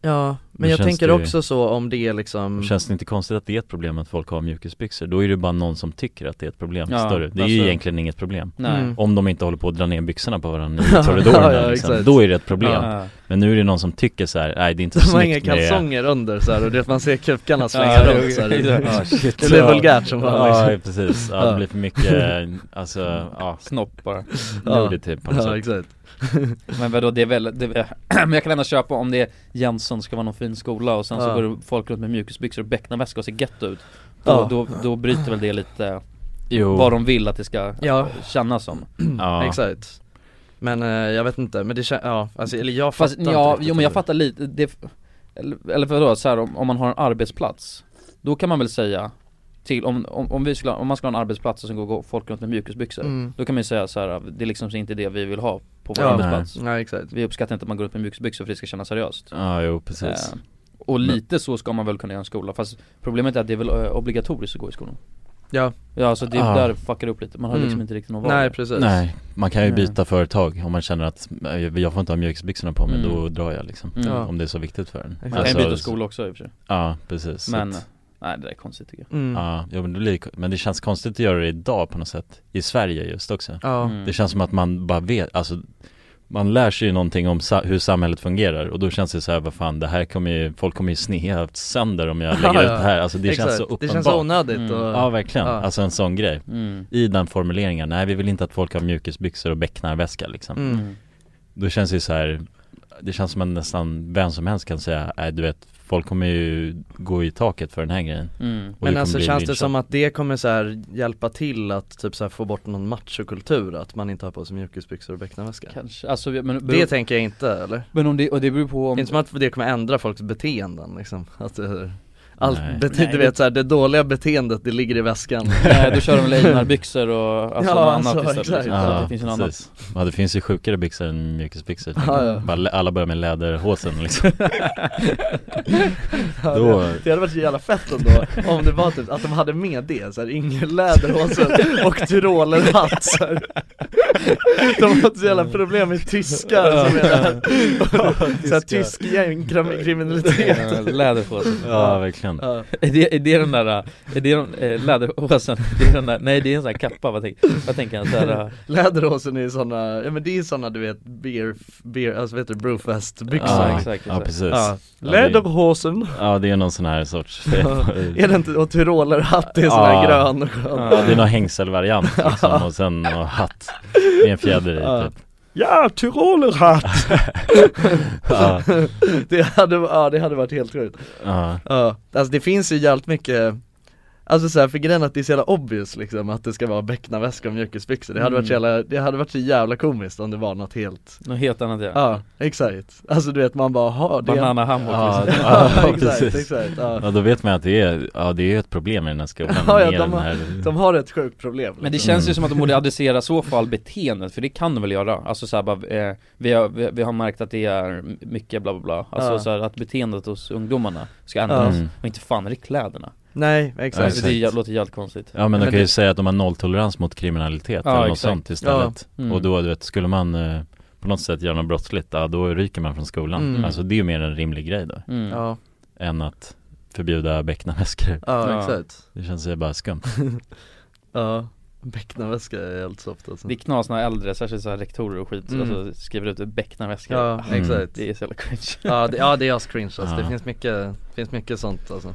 S3: Ja, men
S6: Då
S3: jag
S6: känns
S3: tänker
S6: det ju-
S3: också så om det är liksom
S6: Då Känns det inte konstigt att det är ett problem att folk har mjukisbyxor? Då är det bara någon som tycker att det är ett problem.
S4: Ja,
S6: Större. Det är ju
S4: alltså-
S6: egentligen inget problem.
S4: Nej
S3: Mm.
S6: Om de inte håller på att dra ner byxorna på varandra i korridorerna
S3: Ja, ja,
S6: liksom.
S3: exakt.
S6: Då är det ett problem.
S4: Ja.
S6: Men nu är det någon som tycker så här, nej det är inte
S3: De
S6: så
S3: har inga
S6: snyggt med
S3: kalsonger under såhär och det är att man ser kukarna svänga
S4: Ja,
S3: runt
S4: jo,
S3: såhär
S4: exakt.
S3: Det
S6: Ja, shit.
S3: det blir vulgärt som fan liksom.
S6: Ja, precis. Ja, det blir för mycket, alltså, ja,
S4: Snopp bara
S6: nudity typ på något
S3: Ja
S6: sätt.
S3: exakt
S4: Men vadå, det är väl, det är, men jag kan ändå köpa om det är Jensen ska vara någon fin skola och sen så
S3: Ja.
S4: går det folk runt med mjukisbyxor och becknarväska och ser getto ut då,
S3: Ja.
S4: då, då bryter väl det lite
S6: Jo,
S4: vad de vill att det ska
S3: Ja.
S4: kännas som
S6: ja.
S3: Exakt Men eh, jag vet inte, men det känns, ja, alltså, eller jag fattar
S4: Fast
S3: inte
S4: ja,
S3: riktigt
S4: jo men jag
S3: det.
S4: fattar lite, det, eller, eller vadå, så här, om, om man har en arbetsplats Då kan man väl säga till, om, om, om, vi skulle, om man ska ha en arbetsplats och sen går går folk runt med mjukisbyxor
S3: Mm.
S4: Då kan man ju säga så här, det är liksom inte det vi vill ha på vår
S3: Ja.
S4: arbetsplats
S3: Nej exakt
S4: Vi uppskattar inte att man går runt med mjukisbyxor för det ska kännas seriöst
S6: Ja, jo precis.
S4: Eh, och lite så ska man väl kunna göra en skola, fast problemet är att det är väl eh, obligatoriskt att gå i skolan
S3: Ja,
S4: Ja alltså det
S6: Ah.
S4: där fuckar det upp lite, man har liksom
S3: Mm.
S4: inte riktigt någon val
S3: nej precis
S6: Nej, man kan ju
S4: Nej.
S6: byta företag om man känner att eh, jag får inte ha mjukisbyxorna på mig,
S4: Mm.
S6: då drar jag liksom.
S4: Mm.
S3: Ja.
S6: Om det är så viktigt för en.
S3: Man
S4: Man kan ju
S6: Alltså,
S4: byta skola också i och för sig,
S6: Ja, precis. Så
S4: men
S6: att-
S4: nej det där är konstigt tycker jag
S3: Mm.
S6: Ja, jo, men, det blir, men det känns konstigt att göra det idag på något sätt. I Sverige just också.
S3: Ja,
S4: Mm.
S6: Det känns som att man bara vet, alltså man lär sig ju någonting om sa- hur samhället fungerar och då känns det så här, vad fan, det här kommer ju, folk kommer ju snea sönder om jag lägger
S7: Ja,
S6: ut
S7: ja.
S6: det här, alltså det känns så uppenbart
S7: Det känns så onödigt
S4: Mm.
S7: och,
S6: Ja verkligen,
S7: Ja.
S6: alltså en sån grej
S4: Mm.
S6: I den formuleringen, nej vi vill inte att folk har mjukisbyxor och becknarväska liksom
S7: mm.
S4: Mm.
S6: Då känns det ju så här, det känns som att nästan vem som helst kan säga, nej du vet, folk kommer ju gå i taket för den här grejen
S4: Mm.
S6: Och
S7: Men
S6: du
S7: alltså
S6: kommer bli
S7: känns det
S6: lynchad.
S7: som att det kommer så här hjälpa till att typ så här få bort någon machokultur, att man inte har på sig mjukisbyxor och becknarväska?
S4: Kanske, alltså, men, beror,
S7: Det tänker jag inte eller?
S4: men om det, och det beror på om
S7: Det är inte som att det kommer ändra folks beteenden liksom, att det, allt
S6: Nej.
S7: bete-
S4: Nej,
S7: du vet såhär, det dåliga beteendet det ligger i väskan
S4: Nej, då kör de lejonarbyxor och alltså
S7: Ja,
S4: något annat
S7: alltså,
S4: istället
S7: exakt.
S4: liksom.
S6: Ja,
S4: Det finns ju något annat
S6: precis. Ja det finns ju sjukare byxor än mjukisbyxor
S7: Ja, ja.
S6: Bara lä- Alla börjar med läderhosen liksom Då,
S7: Det hade varit så jävla fett ändå, om det var typ att de hade med det, såhär yngelläderhosen och tyrolerhatt såhär De har haft så jävla problem med tyskar som är där, såhär tysk gängkriminalitet
S4: Ja, Läderhosen
S6: ja verkligen
S7: Ja.
S4: Är det, är det den där, äh, är det den, äh, läderhosen? Det är den där, nej det är en sån här kappa, vad tänker, vad tänker han? Så här, äh,
S7: Läderhosen är ju såna, ja men det är ju såna du vet, beer, beer alltså vad heter det, brewfest byxor
S6: Ja,
S4: exakt, exakt.
S6: Ja precis
S7: Ja.
S6: Ja, det är-
S7: Läderhosen
S6: Ja det är någon sån här sorts
S7: Är det inte, och tyrolerhatt det är sån
S6: Ja.
S7: här grön och skön
S6: Ja det är någon hängselvariant liksom och sen och hatt med en fjäder i typ
S7: Ja, tyrolerhatt!
S6: Ja,
S7: Det hade, ja, det hade varit helt roligt
S6: ja,
S7: Ja, alltså det finns ju jävligt mycket Alltså såhär, för grejen är att det är så jävla obvious liksom att det ska vara becknarväska och mjukisbyxor Det hade varit så jävla, det hade varit så jävla komiskt om det var något helt
S4: något helt annat ja.
S7: Ja, exakt Alltså du vet man bara, ha det
S4: Banana hammock
S6: Ja,
S4: liksom.
S6: ja,
S7: Ja, exakt,
S6: precis.
S7: exakt ja.
S6: ja då vet man att det är, ja det är ju ett problem i den här skolan
S7: Ja, ja,
S6: med
S7: de
S6: den
S7: har-
S6: här
S7: De har ett sjukt problem
S4: Men det
S7: liksom.
S4: känns ju som att de borde adressera i så fall beteendet, för det kan de väl göra? Alltså såhär bara, eh, vi, har, vi, vi har märkt att det är mycket bla bla bla Alltså
S7: Ja.
S4: så såhär att beteendet hos ungdomarna ska ändras,
S6: Mm.
S4: och inte fan är det kläderna
S7: Nej,
S6: Ja,
S7: exakt
S4: alltså, Det jä- låter jävligt konstigt
S6: Ja men de
S7: Men
S6: kan ju
S7: det-
S6: säga att de har nolltolerans mot kriminalitet
S4: Ja,
S6: eller något
S4: exakt.
S6: sånt istället
S4: Ja. Mm.
S6: Och då du vet, skulle man eh, på något sätt göra något brottsligt, ja då ryker man från skolan
S7: Mm.
S6: Alltså det är ju mer en rimlig grej då,
S4: mm.
S7: Ja,
S6: än att förbjuda becknarväskor
S7: ja
S4: Ja.
S7: exakt
S6: Det känns ju bara skumt
S7: Ja, becknarväska är helt soft alltså
S4: Det är knas när äldre, särskilt såhär rektorer och skit,
S7: Mm.
S4: alltså, skriver ut becknarväskor
S7: Ja,
S4: Ah,
S7: exakt
S4: Det är så jävla cringe
S7: Ja det, ja, det är ascringe alltså, det
S6: Ja.
S7: finns mycket, finns mycket sånt alltså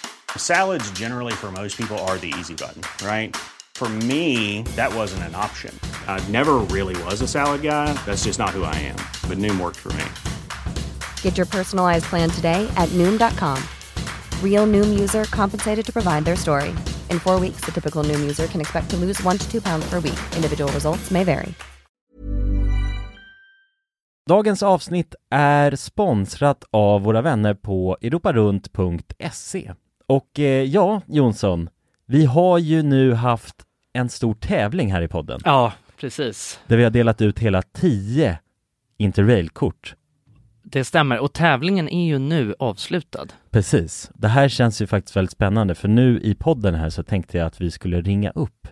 S8: Salads, generally, for most people, are the easy button, right? For me, that wasn't an option. I never really was a salad guy. That's just not who I am. But Noom worked for me.
S9: Get your personalized plan today at Noom.com. Real Noom user compensated to provide their story. In four weeks, the typical Noom user can expect to lose one to two pounds per week. Individual results may vary.
S6: Dagens avsnitt är sponsrat av våra vänner på europarunt.se. Och eh, ja, Jonsson, vi har ju nu haft en stor tävling här i podden
S3: Ja, precis.
S6: där vi har delat ut hela 10 interrailkort.
S3: Det stämmer. Och tävlingen är ju nu avslutad.
S6: Precis. Det här känns ju faktiskt väldigt spännande för nu i podden här så tänkte jag att vi skulle ringa upp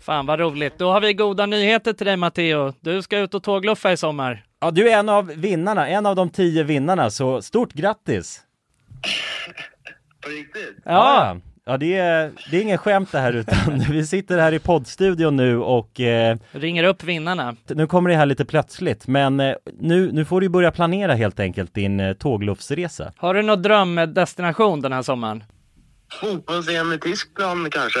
S3: Fan vad roligt. Då har vi goda nyheter till dig Matteo. Du ska ut och tågluffa i sommar.
S6: Ja, du är en av vinnarna, en av de tio vinnarna, så stort grattis!
S10: riktigt?
S6: Ja, ja det, är, det är ingen skämt det här utan vi sitter här i poddstudion nu och eh,
S11: Ringer upp vinnarna.
S6: nu kommer det här lite plötsligt men eh, nu, nu får du ju börja planera helt enkelt din eh, tågluffsresa.
S11: Har du någon drömdestination den här sommaren?
S10: Fotbolls-EM i Tyskland kanske?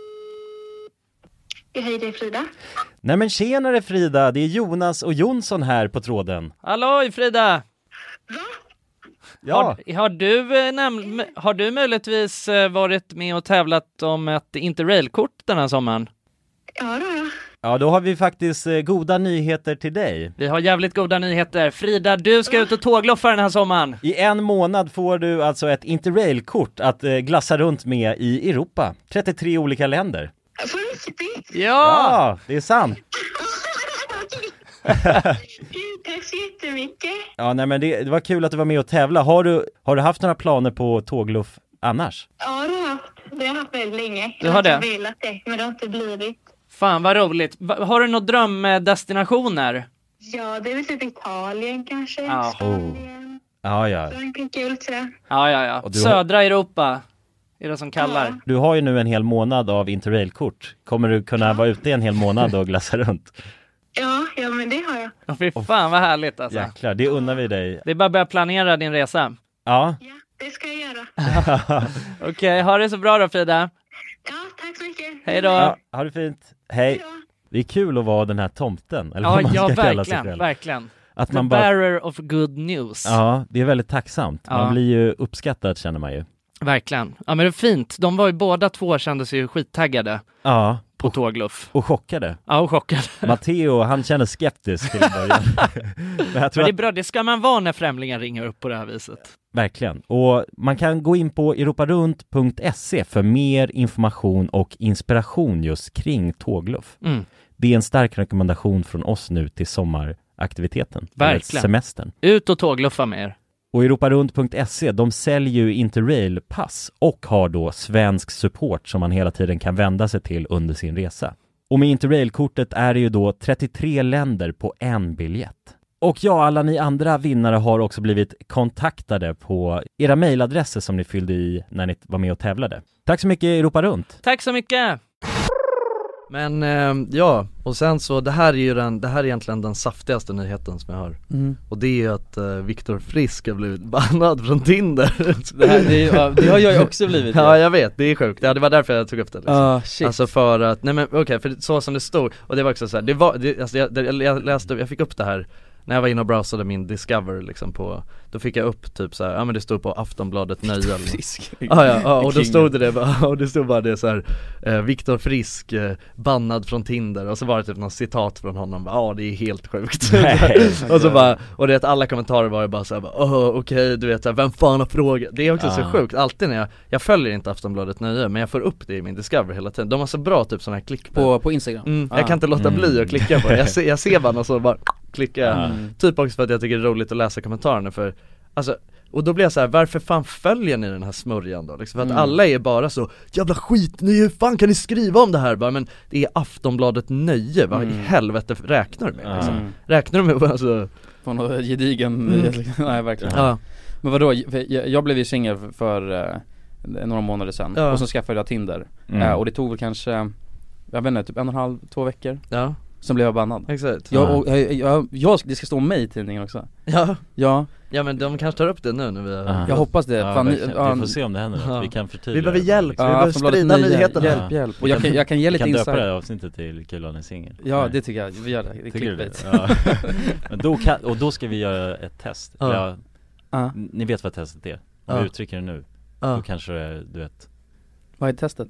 S12: Hej, det är Frida.
S6: Nej men tjenare Frida, det är Jonas och Jonsson här på tråden.
S11: Halloj Frida!
S6: Ja.
S11: Har, har, du, eh, näml- har du möjligtvis eh, varit med och tävlat om ett interrailkort den här sommaren?
S12: Ja, då, ja.
S6: Ja, då har vi faktiskt eh, goda nyheter till dig.
S11: Vi har jävligt goda nyheter. Frida, du ska ut och tågloffa den här sommaren.
S6: I en månad får du alltså ett interrailkort att eh, glassa runt med i Europa. 33 olika länder.
S11: Ja!
S6: Ja, det är sant!
S12: Gud, Tack så jättemycket.
S6: Ja, nej men det, det var kul att du var med och tävla. Har du, har du haft några planer på tågluff annars?
S12: Ja, det har jag haft. Det har jag haft väldigt länge.
S11: Du har det?
S12: Jag har velat det, men det har inte blivit.
S11: Fan vad roligt. Va- Har du några drömdestinationer?
S12: Ja, det är väl typ Italien kanske.
S11: Ja.
S6: Oh. Ja, ja.
S12: Frankrike, vill säga.
S11: Ja, ja, ja.
S6: Och du har-
S11: Södra Europa är det som kallar.
S6: Du har ju nu en hel månad av interrailkort. Kommer du kunna vara ute en hel månad och glassa runt?
S12: Ja, ja, men det har jag.
S11: Åh, fy fan vad härligt alltså.
S6: Jäklar, det unnar vi dig.
S11: Det är bara att börja planera din resa.
S6: Ja.
S12: Det ska jag göra.
S11: Okej, ha det så bra då Frida.
S12: Ja, tack så mycket.
S11: Hej då.
S6: ja ha det fint. Hej. Det är kul att vara den här tomten, eller
S11: Ja,
S6: vad man
S11: ja
S6: ska kalla sig
S11: verkligen,
S6: själv.
S11: verkligen.
S6: Att
S11: The
S6: man bara-
S11: bearer of good news.
S6: Ja, det är väldigt tacksamt.
S11: Ja.
S6: Man blir ju uppskattad känner man ju.
S11: Verkligen. Ja men det är fint. De var ju båda två kändes ju skittaggade.
S6: Ja.
S11: På tågluff.
S6: Och chockade.
S11: Ja, och chockade.
S6: Matteo, han känner skeptisk till en början. Men jag tror
S11: men det är
S6: att-
S11: bra, det ska man vara när främlingar ringer upp på det här viset.
S6: Verkligen. Och man kan gå in på europarunt.se för mer information och inspiration just kring tågluff.
S11: Mm.
S6: Det är en stark rekommendation från oss nu till sommaraktiviteten. eller
S11: Verkligen.
S6: Semestern.
S11: Ut och tågluffa med er.
S6: Och europarunt.se, E, de säljer ju Interrail-pass och har då svensk support som man hela tiden kan vända sig till under sin resa. Och med Interrail-kortet är det ju då 33 länder på en biljett. Och ja, alla ni andra vinnare har också blivit kontaktade på era mejladresser som ni fyllde i när ni var med och tävlade. Tack så mycket Europa Runt!
S11: Tack så mycket!
S3: Men eh, ja, och sen så det här är ju den, det här är egentligen den saftigaste nyheten som jag har
S4: Mm.
S3: Och det är ju att eh, Viktor Frisk har blivit bannad från Tinder
S4: Det här- det är- ja, det har jag ju också blivit,
S3: Ja
S4: ja.
S3: jag vet, det är sjukt, ja, det var därför jag tog upp det
S4: Ah, shit.
S3: Alltså för att, nej men okej, för så som det stod, och det var också så här, det var, det, alltså jag, det, jag läste, jag fick upp det här när jag var inne och browsade min Discover liksom på, då fick jag upp typ så här, ja men det stod på Aftonbladet Nöje eller något.
S4: Frisk.
S3: ja, ja, ja, och då
S4: Kingen.
S3: stod det det, bara- och det stod bara det så här, eh, Viktor Frisk eh, bannad från Tinder och så var det typ någon citat från honom, bara, ja det är helt sjukt
S4: Nej.
S3: Och så bara, och det att alla kommentarer var ju bara såhär, åh okej du vet så här, vem fan har frågat? Det är också så
S4: Ja.
S3: sjukt, alltid när jag, jag följer inte Aftonbladet Nöje men jag får upp det i min Discover hela tiden, de har så bra typ sådana här klick
S4: På, på Instagram?
S3: Mm, jag kan inte låta
S4: Mm.
S3: bli att klicka på det, jag ser, jag ser bara och så bara klickar jag
S4: Mm.
S3: Typ också för att jag tycker det är roligt att läsa kommentarerna för Alltså, och då blir jag så här: varför fan följer ni den här smörjan då? Liksom, för att
S4: Mm.
S3: alla är bara så 'Jävla skit, ni, hur fan kan ni skriva om det här?' Bara, men det är Aftonbladet Nöje, vad i
S4: Mm.
S3: helvete räknar du med? Liksom?
S4: Mm.
S3: Räknar du med alltså
S4: På någon gedigen,
S3: Mm.
S4: nej verkligen
S3: Ja.
S4: Men vadå, jag, jag blev ju singel för eh, några månader sedan
S3: Ja.
S4: och så skaffade jag Tinder
S3: Mm.
S4: Eh, och det tog väl kanske, jag vet inte, typ en och en halv, två veckor
S3: Ja
S4: Sen blev jag bannad
S3: Exakt
S4: jag, och, jag, jag, jag, det ska stå om mig i tidningen också
S3: Ja
S4: Ja
S3: Ja men de kanske tar upp det nu när vi har
S4: Jag hoppas det,
S6: Ja,
S4: fan, ni-
S6: verkligen.
S4: ja.
S6: Vi får se om det händer något.
S3: Ja.
S6: Vi kan förtydliga
S3: Vi behöver
S6: det. liksom.
S3: hjälp, vi behöver
S4: Ah, Aftonbladet
S3: sprida
S4: Nya.
S3: nyheterna
S4: Hjälp, hjälp. Och jag kan, jag kan ge
S6: Vi
S4: lite
S6: kan döpa det
S4: insight
S6: här avsnittet till Kulan är singel
S4: Ja
S6: Nej.
S4: det tycker jag, vi gör det, det är
S6: Tycker du
S4: clickbait
S6: Ja. Men då kan, och då ska vi göra ett test
S4: Ja.
S6: ja.
S4: Ja.
S6: Ni vet vad testet är? Om
S4: Ja.
S6: vi uttrycker det nu,
S3: Ja.
S6: då kanske det, du vet
S4: Vad är testet?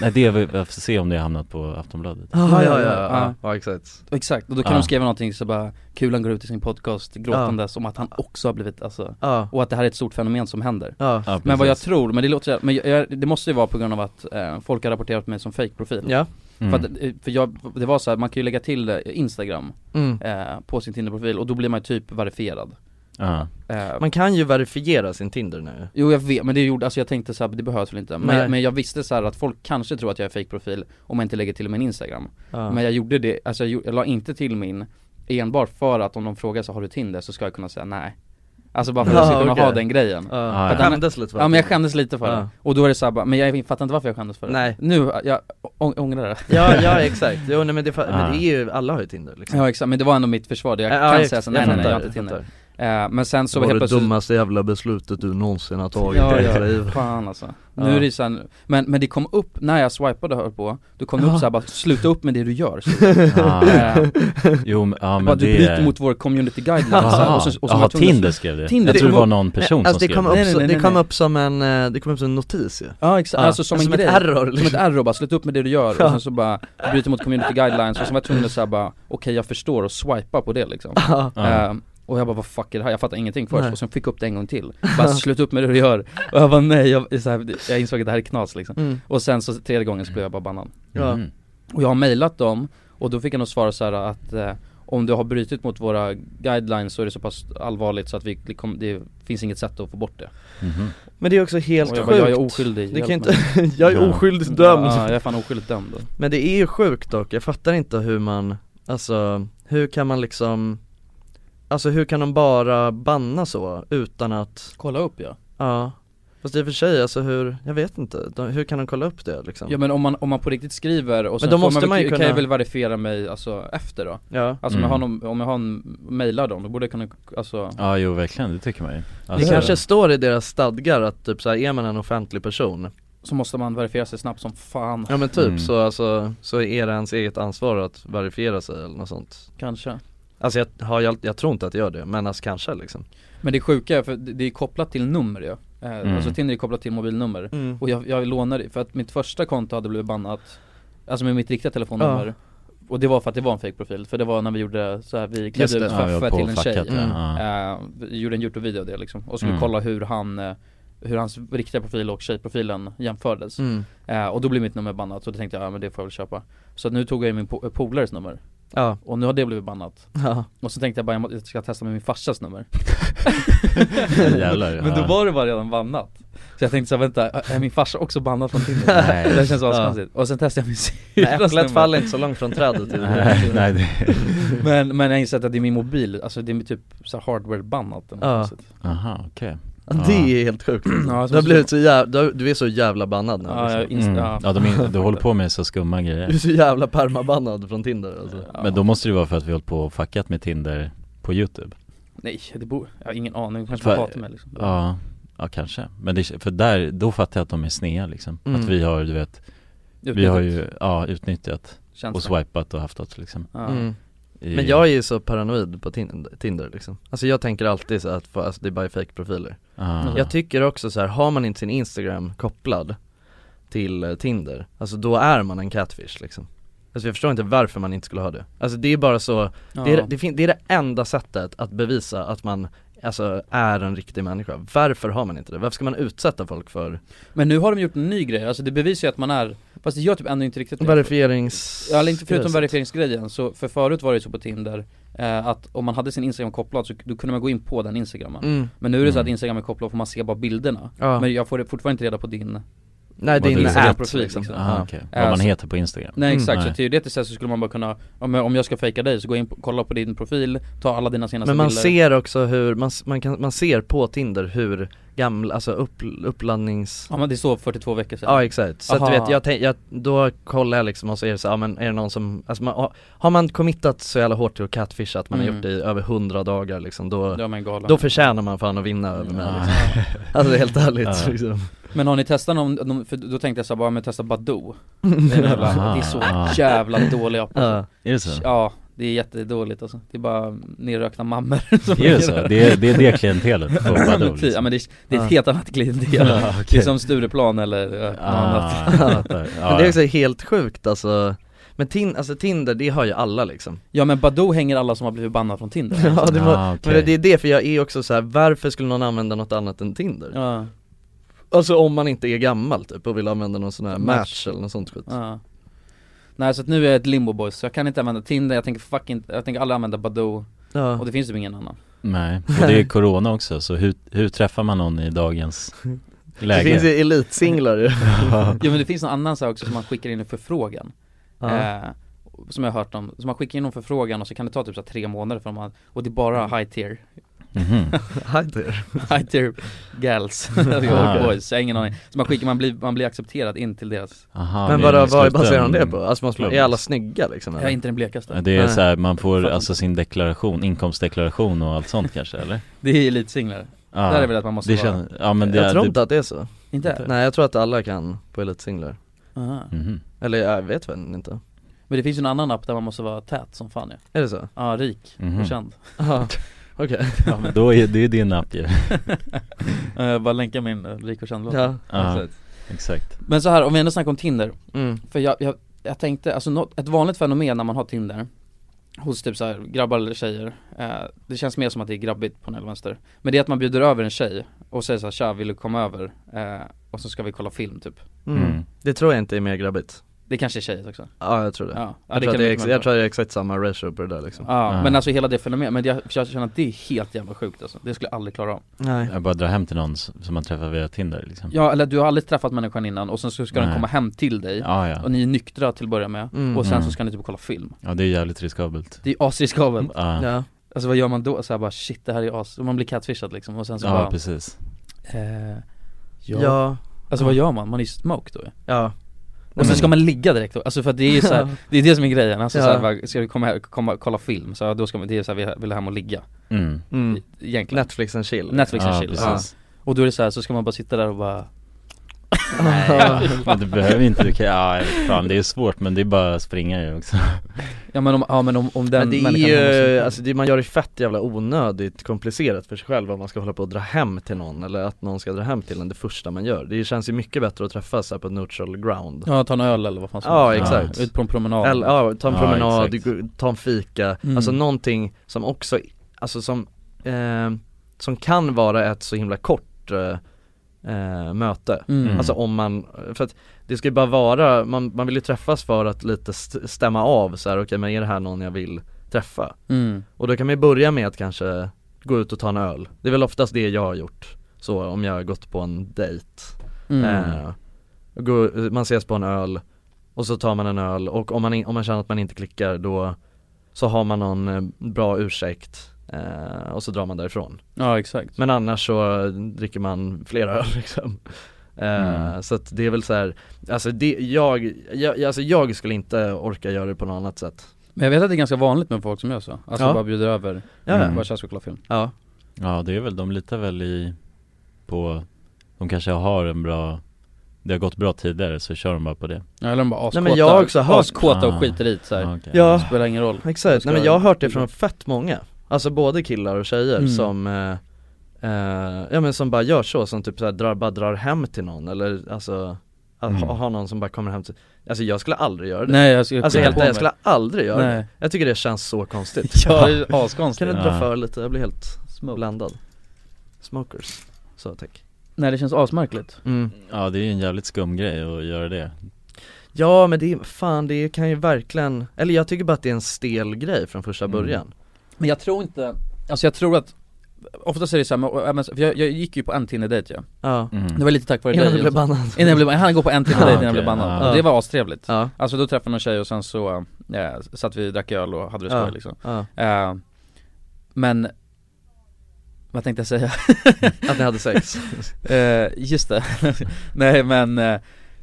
S6: Nej det är väl, vi får se om det har hamnat på Aftonbladet
S4: Ah,
S3: Ja, Ah. exakt.
S4: Exakt, och då kan
S6: Ja.
S4: de skriva någonting så bara Kulan går ut i sin podcast
S3: Ah.
S4: gråtandes om att han också har blivit, alltså, och att det här är ett stort fenomen som händer
S3: Ja. Ja,
S4: Men
S3: precis.
S4: vad jag tror, men det låter så här- men jag, jag, det måste ju vara på grund av att eh, folk har rapporterat mig som fake-profil
S3: Ja.
S4: För,
S3: Mm.
S4: att, eh, för jag, det var så här, man kan ju lägga till eh, Instagram
S3: Mm.
S4: eh, på sin Tinder-profil och då blir man ju typ verifierad Eh,
S3: Man kan ju verifiera sin Tinder nu
S4: Jo jag vet, men det gjorde, alltså jag tänkte så här, det behövs väl inte
S3: Nej.
S4: men, men jag visste så här att folk kanske tror att jag är fake-profil om jag inte lägger till min Instagram
S3: Ja.
S4: Men jag gjorde det, alltså jag, gjorde- jag la inte till min enbart för att om de frågar så har du Tinder så ska jag kunna säga nej Alltså bara för att jag ska
S3: Ja,
S4: kunna
S3: okej.
S4: ha den grejen
S3: Ja.
S4: För
S3: Ja,
S4: att
S3: ja.
S4: annars-
S3: Skämdes lite för
S4: Ja
S3: det.
S4: men jag skämdes lite för
S3: Ja.
S4: det, och då är det så här, bara, men jag fattar inte varför jag skämdes för det
S3: Nej.
S4: Nu, jag å- ångrar det
S3: Ja, ja exakt, jo, nej, men, det, fa- men
S4: Ja.
S3: det är ju, alla har ju Tinder liksom
S4: Ja exakt, men det var ändå mitt försvar, det jag
S3: Ja,
S4: kan
S3: ja,
S4: säga
S3: ex-
S4: så nej
S3: jag
S4: nej nej jag har
S3: fattar,
S4: inte Tinder
S3: jag
S4: Eh, Men sen så
S3: det var
S4: helt
S3: det
S4: plötsligt
S3: dummaste jävla beslutet du någonsin har tagit
S4: Ja,
S3: i ditt
S4: ja.
S3: liv
S4: Fan alltså.
S3: Ja.
S4: Nu är det så här, men, men det kom upp, när jag swipade och höll på, då kom det
S3: Ja.
S4: upp såhär bara, sluta upp med det du gör så.
S6: Ah.
S4: Eh,
S6: Jo, men- ja, men
S4: bara, Du
S6: det-
S4: bryter mot vår community guidelines
S6: Jaha.
S4: så här, och så, och så var
S6: Jaha,
S4: jag tvungen att-
S6: Tinder skrev det. Jag tror det var
S3: kom-
S6: någon person
S3: Nej, alltså,
S6: som
S3: det kom
S6: skrev det.
S3: upp, så-
S6: Nej, nej,
S3: Det
S6: nej,
S3: kom
S6: nej.
S3: upp som en, eh, det kom upp som en notis ju
S4: Ja exakt, alltså som en
S3: ett
S4: grej,
S3: error liksom.
S4: som ett error bara, sluta upp med det du gör
S3: Ja.
S4: och sen så bara bryter mot community guidelines och så var jag tvungen att säga bara, okej jag förstår och swipa på det liksom
S3: Ja.
S4: Eh, Och jag bara, vad fuck är det här? Jag fattar ingenting först
S3: Nej.
S4: och sen fick jag upp det en gång till Bara sluta upp med det du gör Och jag bara nej, jag, så här, jag insåg att det här är knas liksom
S3: Mm.
S4: Och sen så tredje gången så blev jag bara bannad
S3: Ja.
S6: Mhm,
S4: Mm. Och jag har mejlat dem och då fick jag nog svara så här att eh, om du har brutit mot våra guidelines så är det så pass allvarligt så att vi, det kom- det finns inget sätt att få bort det
S6: mhm.
S3: Men det är också helt
S4: och jag
S3: sjukt
S4: bara, jag är oskyldig,
S3: det kan
S4: hjälp
S3: inte,
S4: mig.
S3: Jag är oskyldigt dömd
S4: Ja, jag är fan oskyldigt dömd
S3: Men det är ju sjukt dock, jag fattar inte hur man, alltså hur kan man liksom Alltså hur kan de bara banna så utan att
S4: Kolla upp ja
S3: Ja Fast i och för sig, alltså hur, jag vet inte, de, hur kan de kolla upp det liksom?
S4: Ja men om man, om man på riktigt skriver och
S3: Men
S4: sen
S3: då
S4: får
S3: måste
S4: man, väl-
S3: man ju
S4: kan
S3: kunna-
S4: jag väl verifiera mig alltså efter då?
S3: Ja.
S4: Alltså om jag
S6: Mm.
S4: har någon, om jag har en, mejlar dem, då borde jag kunna, alltså
S6: Ja jo verkligen, det tycker man ju Alltså,
S3: det kanske står i deras stadgar att typ såhär, är man en offentlig person
S4: Så måste man verifiera sig snabbt som fan
S3: Ja men typ
S4: Mm.
S3: så alltså, så är det ens eget ansvar att verifiera sig eller något sånt
S4: Kanske
S3: Alltså jag, har, jag, jag tror inte att det gör det, men alltså kanske liksom
S4: Men det sjuka är, för det det är kopplat till nummer ju ja.
S3: Mm.
S4: Alltså Tinder är kopplat till mobilnummer
S3: Mm.
S4: Och jag, jag lånade, för att mitt första konto hade blivit bannat Alltså med mitt riktiga telefonnummer
S3: Ja.
S4: Och det var för att det var en fejkprofil, för det var när vi gjorde så här, vi klädde
S3: det.
S4: ut
S3: Ja, vi
S4: Feffe
S3: var
S4: till en tjej
S3: påfackat, ja.
S4: Eh, vi Gjorde en youtube-video av det liksom, och skulle
S3: Mm.
S4: kolla hur han eh, hur hans riktiga profil och tjejprofilen jämfördes
S3: Mm.
S4: eh, Och då blev mitt nummer bannat, så då tänkte jag ja men det får jag väl köpa Så att nu tog jag ju min po- polares nummer
S3: Ja.
S4: Och nu har det blivit bannat
S3: Ja.
S4: Och så tänkte jag bara jag må- jag ska testa med min farsas nummer
S6: Jävlar,
S4: Men då
S6: ja.
S4: var det bara redan bannat Så jag tänkte såhär, vänta, är min farsa också bannad från Tinder?
S6: Nej.
S4: Det känns
S6: Ja.
S4: askonstigt, och sen testade jag min
S3: Nej,
S4: syrras
S3: äpplet
S4: nummer.
S3: faller inte så långt från trädet, typ. Nej, nej, det-
S4: men, men jag har insett att det är min mobil, alltså det är typ så här hardware-bannat eller något
S3: Ja.
S4: konstigt.
S6: Aha, okej
S3: Det är helt sjukt
S4: Ja,
S3: Du har blivit så jävla, du är så jävla bannad nu alltså.
S4: Ja, jag
S6: Mm. Ja, de är, du håller på med så skumma
S3: Du är
S6: grejer
S3: så jävla permabannad från Tinder alltså
S6: Men då måste det vara för att vi hållit på och fuckat med Tinder på youtube
S4: Nej, det bor, jag har ingen aning, de kanske
S6: För-
S4: bara hatar mig liksom
S6: Ja, ja kanske. Men det, för där, då fattar jag att de är snea liksom.
S4: Mm.
S6: Att vi har, du vet, vi
S4: Utnyttjat.
S6: har ju, ja utnyttjat
S4: Känns
S6: och
S4: det.
S6: swipat och haft oss liksom.
S3: Mm.
S6: I-
S3: Alltså. Men jag är ju så paranoid på Tin- Tinder liksom Alltså jag tänker alltid så att fa- alltså, det är bara fake-profiler
S6: Ah.
S3: Jag tycker också så här, har man inte sin Instagram kopplad till eh, Tinder, alltså då är man en catfish liksom Alltså jag förstår inte varför man inte skulle ha det Alltså det är bara så, det,
S4: Ja.
S3: är, det, fin- det är det enda sättet att bevisa att man Alltså är en riktig människa, varför har man inte det? Varför ska man utsätta folk för
S4: Men nu har de gjort en ny grej, alltså det bevisar ju att man är, fast det gör typ ändå inte riktigt det.
S3: verifierings...
S4: Ja, eller inte förutom
S3: grejset?
S4: verifieringsgrejen, så för förut var det ju så på Tinder eh, att om man hade sin Instagram kopplad så då kunde man gå in på den Instagrammen
S3: Mm.
S4: Men nu är det så
S3: Mm.
S4: att Instagram är kopplad och man ser bara bilderna
S3: Ja.
S4: Men jag får fortfarande inte reda på din
S3: Nej,
S4: vad
S3: din
S4: du-
S3: app,
S4: profil,
S3: liksom.
S6: Ah,
S4: Ja.
S6: okej. Vad man heter på Instagram.
S4: Nej
S6: Mm.
S4: exakt,
S6: Nej.
S4: så teoretiskt sett så skulle man bara kunna Om jag, om jag ska fejka dig så gå in på, kolla på din profil, ta alla dina senaste
S3: Men man
S4: bilder
S3: ser också hur, man, s- man, kan, man ser på Tinder hur gamla, alltså upp, uppladdnings...
S4: Ja men det står 42 veckor sedan
S3: Ja exakt, så att
S4: Typ. Aha.
S3: du vet, jag, tänk, jag då kollar jag liksom och så är det så, ja men är det någon som, alltså man, har- har man committat så jävla hårt till att catfisha att man har
S4: Mm.
S3: gjort det i över hundra dagar liksom, då,
S4: Då är man galen.
S3: då förtjänar man fan att vinna över mig liksom. Alltså helt ärligt
S4: Ja.
S3: liksom.
S4: Men har ni testat någon, någon för då tänkte jag såhär, bara men testa Badoo Det är en jävla- det är så
S6: Ah.
S4: jävla dålig app
S6: Är det så?
S4: Ja, Det är jättedåligt alltså. Det är bara nerrökta mammor som
S6: Det är så. Det är- det är det klientelet på Badoo,
S4: Ja, men ty-
S3: typ.
S6: liksom.
S4: Ja men det är, det är
S6: Ja.
S4: ett helt annat klientel
S6: Ja, okej.
S4: Det är som Stureplan eller ja, något
S6: Ah,
S4: annat
S3: Men det är också helt sjukt alltså Men tin, alltså Tinder, det har ju alla liksom Alltså.
S4: Ja men Badoo hänger alla som har blivit bannade från Tinder
S3: Ja, det var, men det är det, för jag är också så här: varför skulle någon använda något annat än Tinder?
S4: Ja.
S3: Alltså om man inte är gammal typ och vill använda någon sån här
S4: Match.
S3: match, eller något sånt skit
S4: Ja. Nej så att nu är jag ett limbo boys, så jag kan inte använda Tinder, jag tänker fucking, jag tänker aldrig använda Badoo
S3: Ja.
S4: Och det finns ju ingen annan
S6: Nej, och det är corona också, så hur, hur träffar man någon i dagens läge?
S3: Det finns ju elitsinglar ju
S6: Ja.
S4: Jo men det finns någon annan sak också som man skickar in en förfrågan
S3: Ja.
S4: eh, Som jag har hört om, så man skickar in en förfrågan och så kan det ta typ så här tre månader för man, och det är bara high tier
S6: Mhm.
S3: High tier
S4: High tier gals,
S3: Ah.
S4: boys, jag har ingen aning Så man skickar, man blir, man blir accepterad in till deras
S3: Men vadå, vad baserar han det på? Alltså man är alla snygga liksom
S4: Jag är inte den blekaste
S6: Ah.
S4: Ah.
S6: Ja, Det är så här, man får alltså sin deklaration, inkomstdeklaration och allt sånt kanske eller?
S4: Det är elitsinglar,
S6: Ja.
S4: där är väl att man måste
S6: Ah, Det
S4: vara
S6: känns- ja, men det-
S3: Jag tror
S6: det-
S3: inte att det är typ- så
S4: Inte?
S3: Nej jag tror att alla kan på elitsinglar
S4: Aha.
S6: Mhm.
S3: Eller jag vet väl inte
S4: Men det finns ju en annan app där man måste vara tät som fan ja.
S3: Är det så?
S4: Ja, rik
S6: Mhm.
S4: och känd
S3: Ja, okej
S4: Ja, men-
S6: Då är det är ju din app ju
S4: Eh, Jag bara länka min eh, rik och känd låt
S3: Ja.
S6: Ja, exakt
S4: Men så här, om vi ändå snackar om Tinder
S3: Mm.
S4: För jag, jag, jag tänkte, alltså något, ett vanligt fenomen när man har Tinder Hos typ så här grabbar eller tjejer eh, Det känns mer som att det är grabbigt på den här vänster Men det är att man bjuder över en tjej och säger så här, tja vill du komma över? Eh, och så ska vi kolla film typ
S3: Mm. Det tror jag inte är mer grabbigt
S4: Det kanske är tjejer också
S3: Ja jag tror det,
S4: Ja,
S3: jag, tror
S4: det kan
S3: att det är
S4: mycket
S3: ex-
S4: väl
S3: jag tror att det är exakt samma ratio på det där liksom
S4: Ja, men alltså hela det fenomenet, men jag, jag känner att det är helt jävla sjukt alltså. Det skulle jag aldrig klara av
S6: Mm.
S3: Nej.
S6: Jag bara drar hem till någon s- som man träffar via Tinder liksom
S4: Ja eller du har aldrig träffat människan innan och sen så ska den
S6: Nej.
S4: komma hem till dig
S6: Ja, ja.
S4: och ni är nyktra till att börja med
S6: Mm.
S4: och sen
S6: Mm.
S4: så ska ni typ kolla film
S6: Ja det är jävligt riskabelt
S4: Det är asriskabelt
S6: Ja. Ja.
S4: Alltså vad gör man då? Så här bara shit det här är as, man blir catfishad liksom och sen så
S6: Ja,
S4: bara
S6: precis.
S4: eh, ja.
S3: Ja.
S4: Alltså vad gör man? Man är ju smoked då ju.
S3: Ja
S4: Och sen ska man ligga direkt då, alltså för att det är ju så här, det är det som är grejen, alltså
S3: Ja.
S4: så här, bara, ska vi komma, här, komma kolla film, så här, då ska man, det är så här, vi vill hem och ligga
S6: Mm.
S3: Mm.
S4: E- Egentligen
S3: Netflix and chill liksom.
S4: Netflix and
S6: Ja,
S4: chill, ja.
S6: precis.
S4: Och då är det så här, så ska man bara sitta där och bara
S6: Men du behöver inte, du kan, ja jag vet fan det är svårt men det är bara att springa ju också
S4: Ja men om, ja, men om, om den
S3: men det är
S4: människan har
S3: ju,
S4: sin-
S3: alltså det, man gör det fett jävla onödigt komplicerat för sig själv om man ska hålla på och dra hem till någon eller att någon ska dra hem till en det första man gör Det känns ju mycket bättre att träffas så här på neutral ground
S4: Ja, ta en öl eller vad fan som
S3: Ja
S4: helst.
S3: exakt
S4: Ja, ut på en promenad.
S3: Eller, ja, ta en
S4: Ja,
S3: promenad,
S4: exakt.
S3: gå- ta en fika,
S4: Mm.
S3: alltså någonting som också, alltså som, eh, som kan vara ett så himla kort eh, eh, möte.
S4: Mm.
S3: Alltså om man, för att det ska ju bara vara, man, man vill ju träffas för att lite st- stämma av så här, okej men är det här någon jag vill träffa?
S4: Mm.
S3: Och då kan man ju börja med att kanske gå ut och ta en öl. Det är väl oftast det jag har gjort, så om jag har gått på en dejt.
S4: Mm.
S3: Eh, gå, man ses på en öl och så tar man en öl och om man, in, om man känner att man inte klickar då så har man någon eh, bra ursäkt eh, och så drar man därifrån.
S4: Ja exakt
S3: Men annars så dricker man flera öl liksom. Eh, Så att det är väl så här, alltså det, jag, jag, alltså jag skulle inte orka göra det på något annat sätt.
S4: Men jag vet att det är ganska vanligt med folk som gör så, alltså
S3: Ja.
S4: bara bjuder över,
S3: Ja, ja.
S4: bara tja ska vi kolla film
S3: Ja
S6: Ja det är väl, de litar väl i på, de kanske har en bra, det har gått bra tidigare så kör de bara på det
S4: Ja, Eller de bara
S3: Nej,
S4: askåta,
S3: men jag har också hört-
S4: askåta och
S6: Ah.
S4: skiter i det så här.
S6: Okej.
S3: Ja.
S4: Det spelar ingen roll
S3: Exakt,
S4: Ska
S3: nej men jag har hört det från fett många Alltså både killar och tjejer
S4: Mm.
S3: som eh, eh, Ja men som bara gör så, som typ så här, drar, bara drar hem till någon eller alltså att
S4: Mm.
S3: ha, ha någon som bara kommer hem till Alltså jag skulle aldrig göra det
S4: Nej, jag skulle
S3: Alltså
S4: skita
S3: helt
S4: på
S3: ärligt,
S4: mig.
S3: jag skulle aldrig göra
S4: Nej.
S3: det Jag tycker det känns så konstigt
S4: Ja, det är askonstigt.
S3: Kan du dra
S4: Ja.
S3: för lite? Jag blir helt blandad Smokers, så tack
S4: Nej det känns asmärkligt
S3: Mm.
S6: Ja det är ju en jävligt skum grej att göra det
S3: Ja men det, är- fan det kan ju verkligen, eller jag tycker bara att det är en stel grej från första
S4: Mm.
S3: början
S4: Men jag tror inte, alltså jag tror att Oftast är det såhär, för jag, jag gick ju på en Tinder-dejt ja.
S3: Ja. Mm.
S4: Det var lite tack vare
S3: Innan
S4: dig
S3: du blev
S4: alltså.
S3: bannad.
S4: Innan jag blev bannad, jag hann gå på en Tinder-dejt
S3: Ja,
S4: innan jag blev
S3: okej,
S4: bannad
S3: ja.
S4: och det var astrevligt
S3: Ja.
S4: Alltså då träffade jag någon tjej och sen så, eh, satt vi och drack öl och hade det skoj
S3: Ja.
S4: liksom
S3: Ja.
S4: eh, Men, vad tänkte jag säga?
S3: Att ni hade sex?
S4: eh, just det, nej men, eh,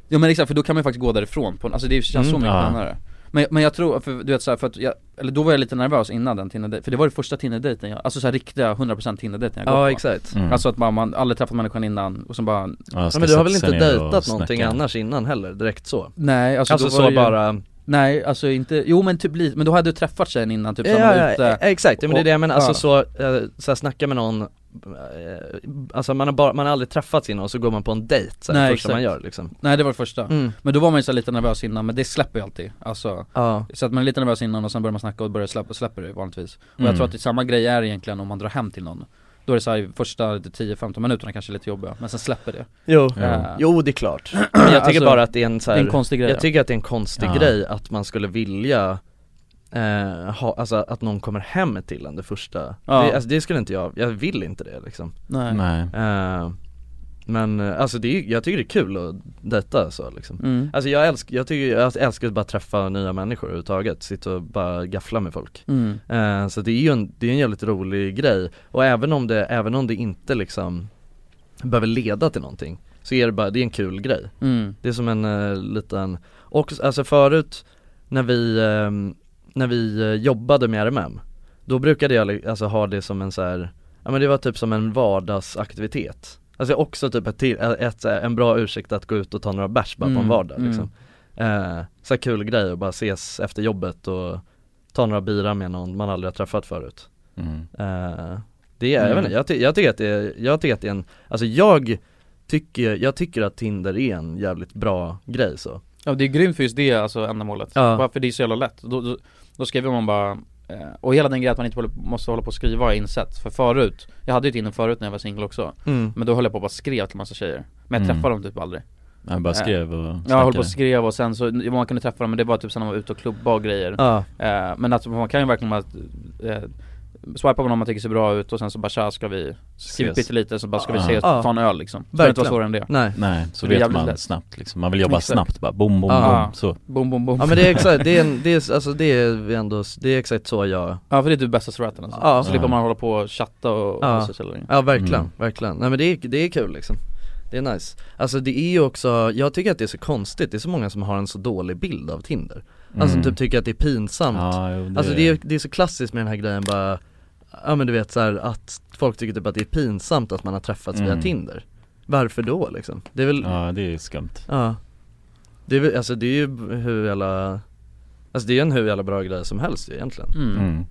S4: ja men exakt för då kan man ju faktiskt gå därifrån på en, alltså det känns så
S6: Mm,
S4: mycket
S6: ja.
S4: skönare men, men jag tror, för, du vet såhär, för att jag, eller då var jag lite nervös innan den tinder för det var det första tinder jag, alltså såhär riktiga 100% tinder-dejten jag
S3: Ja,
S4: gått på
S3: exakt. Mm.
S4: Alltså att man, man aldrig träffat människan innan och sen bara
S3: Ja, men du har väl inte dejtat någonting annars innan heller, direkt så?
S4: Nej, alltså
S3: alltså
S4: då
S3: så
S4: var det ju-
S3: bara,
S4: Nej, alltså inte, jo men typ lite, men då hade du träffat tjejen innan typ så
S3: ja,
S4: han var
S3: ja,
S4: ute
S3: ja, exakt, men det är
S4: och-
S3: det jag menar, alltså
S4: ja.
S3: så, eh, så här, snacka med någon eh, Alltså man har, bara, man har aldrig träffats innan och så går man på en dejt så här,
S4: Nej,
S3: första man
S4: exakt.
S3: gör liksom
S4: Nej det var det första,
S3: Mm.
S4: men då var man ju så här lite nervös innan, men det släpper ju alltid alltså,
S3: Ja.
S4: Så att man är lite nervös innan och sen börjar man snacka och börjar släppa, släpper det vanligtvis Och
S3: Mm.
S4: jag tror att det är samma grej är egentligen om man drar hem till någon Då är det så här, första 10-15 minuterna kanske är lite jobbiga, men sen släpper det
S3: Jo,
S4: Eh,
S3: jo det är klart. Men jag tycker
S4: Alltså,
S3: bara att det är en så här,
S4: det är en konstig grej
S3: Jag tycker att det är en konstig
S4: Ja.
S3: grej att man skulle vilja eh, ha, alltså att någon kommer hem till en det första
S4: Ja.
S3: det, alltså, det skulle inte jag, jag vill inte det liksom
S4: Nej.
S6: Nej.
S3: Eh, Men eh, alltså det är, jag tycker det är kul att dejta så liksom
S4: Mm.
S3: Alltså jag älskar, jag tycker, jag älskar att bara träffa nya människor överhuvudtaget, sitta och bara gaffla med folk
S4: Mm.
S3: Eh, Så det är ju en, det är en jävligt rolig grej och även om det, även om det inte liksom behöver leda till någonting så är det bara, det är en kul grej
S4: Mm.
S3: Det är som en eh, liten, och s- alltså förut när vi, ehm, när vi eh, jobbade med RMM Då brukade jag li- alltså ha det som en så här, ja men det var typ som en vardagsaktivitet Alltså också typ ett, till- ett, så här- en bra ursäkt att gå ut och ta några bärs bara på en
S4: Mm,
S3: vardag
S4: mm.
S3: liksom eh, Så här kul grej att bara ses efter jobbet och ta några bira med någon man aldrig har träffat förut
S6: mm.
S3: eh, Det är, jag vet
S4: Mm.
S3: inte, jag, ty- jag tycker att det är, jag tycker att det är en, alltså jag tycker, jag tycker att Tinder är en jävligt bra grej så
S4: Ja det är grymt för just det alltså ändamålet,
S3: Ja.
S4: bara för det är så jävla lätt Då, då, då skriver man bara eh, och hela den grejen att man inte håller- måste hålla på och skriva har jag insett, för förut, jag hade ju Tinder förut när jag var singel också
S3: Mm.
S4: Men då höll jag på och bara skrev till massa tjejer, men jag
S6: Mm.
S4: träffade dem typ aldrig
S6: Ja, bara
S4: Eh,
S6: skrev och
S4: Ja, jag höll på
S6: snackade.
S4: och skrev och sen så, man kunde träffa dem men det var typ sen när man var ute och klubba och grejer
S3: Ja.
S4: Eh, Men att man kan ju verkligen bara eh, swipa på någon man tycker ser bra ut och sen så bara tja ska vi skriva
S6: Ses.
S4: lite så bara ska vi
S6: Ja.
S4: ses,
S6: Ja.
S4: ta en öl liksom Det behöver inte vara svårare än det
S6: Nej, så
S4: Det är
S6: vet
S4: jävligt
S6: man
S4: lätt.
S6: snabbt liksom. Man vill jobba
S4: Exakt.
S6: snabbt bara, bom, bom,
S4: Ja.
S6: bom, så
S4: Bom, bom, bom
S3: Ja men det är exakt, det är, en, det är alltså det är ändå, det är exakt så jag
S4: Ja för det är typ bästa straten alltså,
S3: Ja.
S4: slipper
S3: Ja.
S4: man hålla på och chatta och
S3: Ja,
S4: och så länge.
S3: ja verkligen,
S4: Mm.
S3: verkligen. Nej men det är, det är kul liksom Det är nice Alltså det är ju också, jag tycker att det är så konstigt, det är så många som har en så dålig bild av Tinder Alltså
S6: Mm.
S3: typ tycker att det är pinsamt
S6: Ja, jo, det
S3: Alltså
S6: är-
S3: det är, det är så klassiskt med den här grejen bara Ja men du vet så här, att folk tycker typ att det är pinsamt att man har träffats via
S6: Mm.
S3: Tinder Varför då liksom? Det är väl
S6: Ja, det är skumt.
S3: Ja Det är väl, alltså det är ju b- hur jävla Alltså det är en hur jävla bra grej som helst ju egentligen
S4: Mm. Mm.